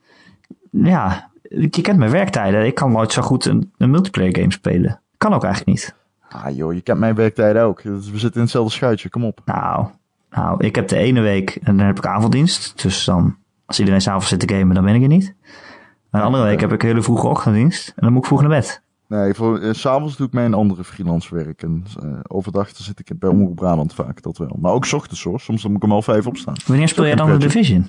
S1: Ja, je kent mijn werktijden. Ik kan nooit zo goed een, een multiplayer game spelen. Kan ook eigenlijk niet.
S2: Ah joh, je kent mijn werktijd ook. Dus We zitten in hetzelfde schuitje, kom op.
S1: Nou, nou, ik heb de ene week... En dan heb ik avonddienst. Dus dan... Als iedereen s'avonds zit te gamen, dan ben ik er niet. En de andere week heb ik een hele vroege ochtenddienst. En dan moet ik vroeg naar bed.
S2: Nee, voor, eh, s s'avonds doe ik mijn andere freelance werk. En eh, overdag dan zit ik bij Omroep Brabant vaak, dat wel. Maar ook 's ochtends hoor, soms dan moet ik om half vijf opstaan.
S1: Wanneer speel jij dan de Division?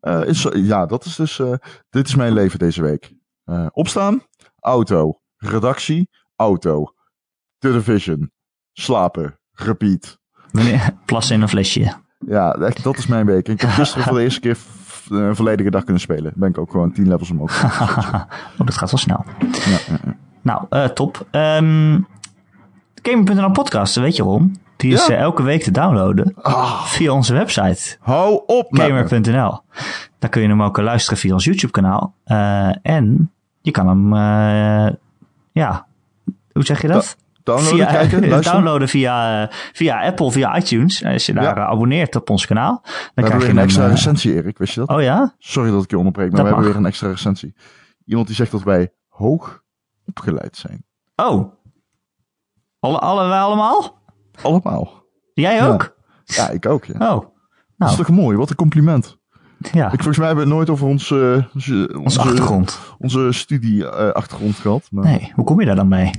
S2: Eh, is, ja, dat is dus, eh, dit is mijn leven deze week. Eh, opstaan, auto, redactie, auto, television, slapen, repeat.
S1: Wanneer, *laughs* plassen in een flesje.
S2: Ja, echt, dat is mijn week. En ik heb gisteren voor de eerste keer v- eh, een volledige dag kunnen spelen. Ben ik ook gewoon tien levels omhoog.
S1: *laughs*
S2: gegaan.
S1: Oh, dat gaat wel snel. Nou, eh, top. Ehm Gamer.nl podcast, dat weet je Ron. Die is
S2: Ja.
S1: eh, elke week te downloaden
S2: Ah,
S1: via onze website
S2: hou op met me.
S1: gamer.nl. Daar kun je hem ook eh, luisteren via ons YouTube kanaal. Eh, en je kan hem, eh, ja, hoe zeg je dat?
S2: Downloaden,
S1: Via- *laughs*
S2: kijken, luisteren.
S1: downloaden via, eh, via Apple, via iTunes. Als je daar
S2: Ja.
S1: eh, abonneert op ons kanaal, dan
S2: We hebben
S1: krijg
S2: weer
S1: je
S2: een
S1: hem,
S2: extra
S1: eh,
S2: recensie, Erik. Wist je dat?
S1: Oh ja?
S2: Sorry dat ik je onderbreek, maar
S1: Dat
S2: we hebben
S1: mag.
S2: weer een extra recensie. Iemand die zegt dat wij hoog opgeleid zijn.
S1: Oh. Alle, alle, wij allemaal?
S2: Allemaal.
S1: Jij ook?
S2: Ja, ik ook. Ja.
S1: Oh.
S2: Dat
S1: Nou,
S2: is toch mooi? Wat een compliment.
S1: ja.
S2: Ik, volgens mij hebben we het nooit over ons, eh, onze,
S1: Onze achtergrond.
S2: onze studie-achtergrond gehad. Maar
S1: Nee, hoe kom je daar dan mee?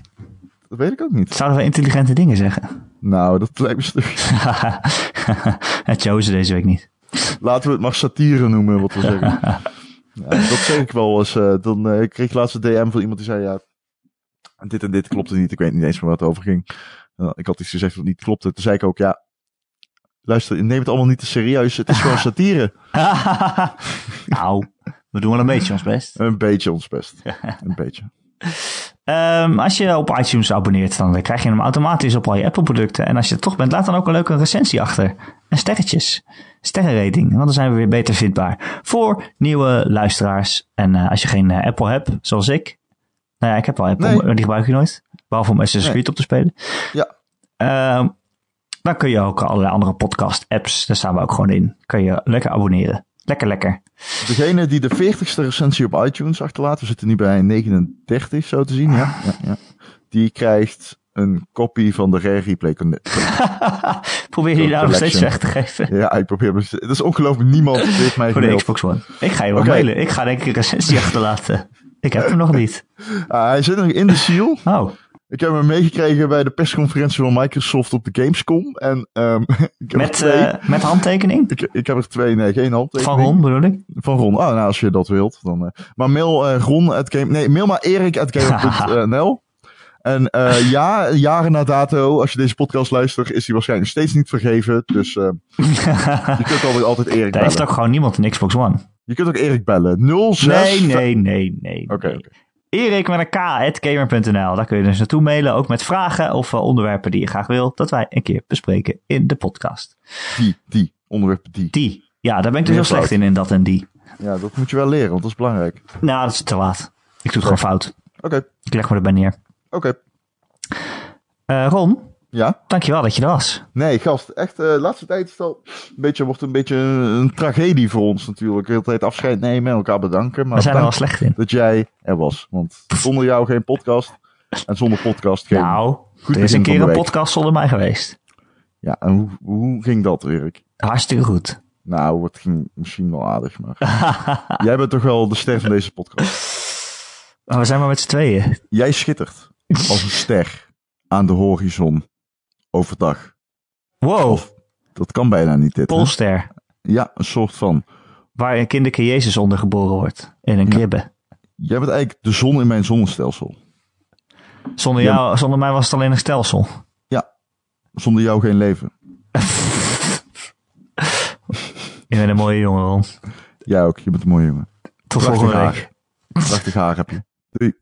S2: dat weet ik ook niet.
S1: Zouden we intelligente dingen zeggen? *laughs*
S2: Nou, dat lijkt me stuk.
S1: het jozen deze week niet.
S2: Laten we het maar satire noemen, wat we
S1: *laughs*
S2: zeggen. Ja, dat zeg ik wel eens. eh, dan eh, ik kreeg ik laatst een DM van iemand die zei... Ja, dit en dit klopte niet. Ik weet niet eens meer waar het over ging. Eh, ik had iets gezegd dat niet klopte. Toen zei ik ook, ja... Luister, neem het allemaal niet te serieus. Het is
S1: *laughs*
S2: gewoon satire.
S1: nou, we doen wel een beetje ons best.
S2: Een beetje ons best. Een beetje.
S1: Ehm, als je op iTunes abonneert, dan krijg je hem automatisch op al je Apple-producten. En als je het toch bent, laat dan ook een leuke recensie achter. En sterretjes. Sterrenrating, want dan zijn we weer beter vindbaar. Voor nieuwe luisteraars. En eh, als je geen eh, Apple hebt, zoals ik. Nou ja, ik heb wel Apple,
S2: Nee.
S1: maar die gebruik ik nooit. Behalve om Assassin's
S2: Nee.
S1: Creed op te spelen.
S2: Ja.
S1: Ehm, dan kun je ook allerlei andere podcast-apps, daar staan we ook gewoon in. Kun je lekker abonneren. Lekker, lekker.
S2: Degene die de 40ste recensie op iTunes achterlaat, we zitten nu bij 39 zo te zien, ja, ja, ja. die krijgt een kopie van de Rare Replay Connect.
S1: Probeer die nou nog steeds weg
S2: Collection.
S1: te geven.
S2: Ja, ik probeer me. Het is ongelooflijk, niemand heeft mij
S1: Voor de
S2: gemaild.
S1: Xbox One. Ik ga je wel
S2: Oké.
S1: mailen. Ik ga denk ik een recensie *laughs* achterlaten. Ik heb hem nog niet.
S2: Ah, hij zit nog in de seal.
S1: Oh,
S2: Ik heb hem meegekregen bij de persconferentie van Microsoft op de Gamescom. En ehm, *laughs* ik, heb er
S1: met,
S2: twee.
S1: eh, met handtekening?
S2: ik, ik heb er twee, nee, geen handtekening.
S1: Van Ron bedoel ik?
S2: Van Ron. Ah, nou, als je dat wilt. Dan, eh. Maar mail eh, Ron uit Game... Nee, mail maar Erik
S1: *laughs*
S2: uit Game.nl. eh, En eh, ja, jaren na dato, als je deze podcast luistert, is die waarschijnlijk nog steeds niet vergeven.
S1: *laughs*
S2: Dus eh, je kunt alweer altijd Erik
S1: Daar heeft
S2: bellen.
S1: ook gewoon niemand een Xbox One.
S2: Je kunt ook Erik bellen. 06...
S1: Nee, nee, nee, nee.
S2: Oké,
S1: nee.
S2: oké.
S1: Erik met een K, at gamer.nl. Daar kun je dus naartoe mailen, ook met vragen of eh, onderwerpen die je graag wil dat wij een keer bespreken in de podcast.
S2: Die, die. Onderwerp die.
S1: Die. Ja, daar ben ik dus
S2: Weer
S1: heel slecht
S2: fout.
S1: in, in dat en die.
S2: Ja, dat moet je wel leren, want dat is belangrijk. Oké,
S1: Nou, dat is te laat. Ik doe het gewoon fout.
S2: oké.
S1: Ik leg me erbij neer. Eh Ron,
S2: Ja?
S1: dankjewel dat je er was.
S2: Nee, gast. Echt, eh laatste tijd is het al een beetje, wordt een beetje een tragedie voor ons natuurlijk. De hele tijd afscheid nemen en elkaar bedanken. Maar
S1: We zijn er
S2: dank-
S1: wel slecht in.
S2: dat jij er was. Want zonder jou geen podcast. En zonder podcast geen.
S1: Nou,
S2: Goed
S1: er is
S2: begin
S1: een
S2: van
S1: keer
S2: de
S1: een
S2: week.
S1: podcast zonder mij geweest.
S2: Ja, en hoe, hoe ging dat, Erik?
S1: Hartstikke goed.
S2: Nou, het ging misschien wel
S1: *laughs*
S2: aardig, maar. jij bent toch wel de ster van deze podcast.
S1: Maar we zijn maar met z'n tweeën.
S2: Jij schittert als een ster aan de horizon overdag.
S1: Wow,
S2: Of- Dat kan bijna niet, dit. hè?
S1: Polster.
S2: Ja, een soort van.
S1: Waar een kinderke Jezus ondergeboren wordt. In een kribbe.
S2: Jij bent eigenlijk de zon in mijn zonnestelsel.
S1: Zonder,
S2: Ja.
S1: jou, zonder mij was het alleen een stelsel.
S2: Zonder jou geen leven.
S1: Je bent een mooie jongen, Ron.
S2: Jij ook, je bent een mooie jongen.
S1: Tot volgende
S2: haar.
S1: week.
S2: Prachtig haar heb je. Doei.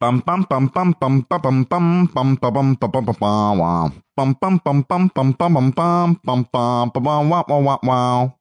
S2: Pam pam pam pam pam pam pam pam pam pam pam pam pam pam pam pam pam pam pam pam pam pam pam pam pam pam pam pam pam pam pam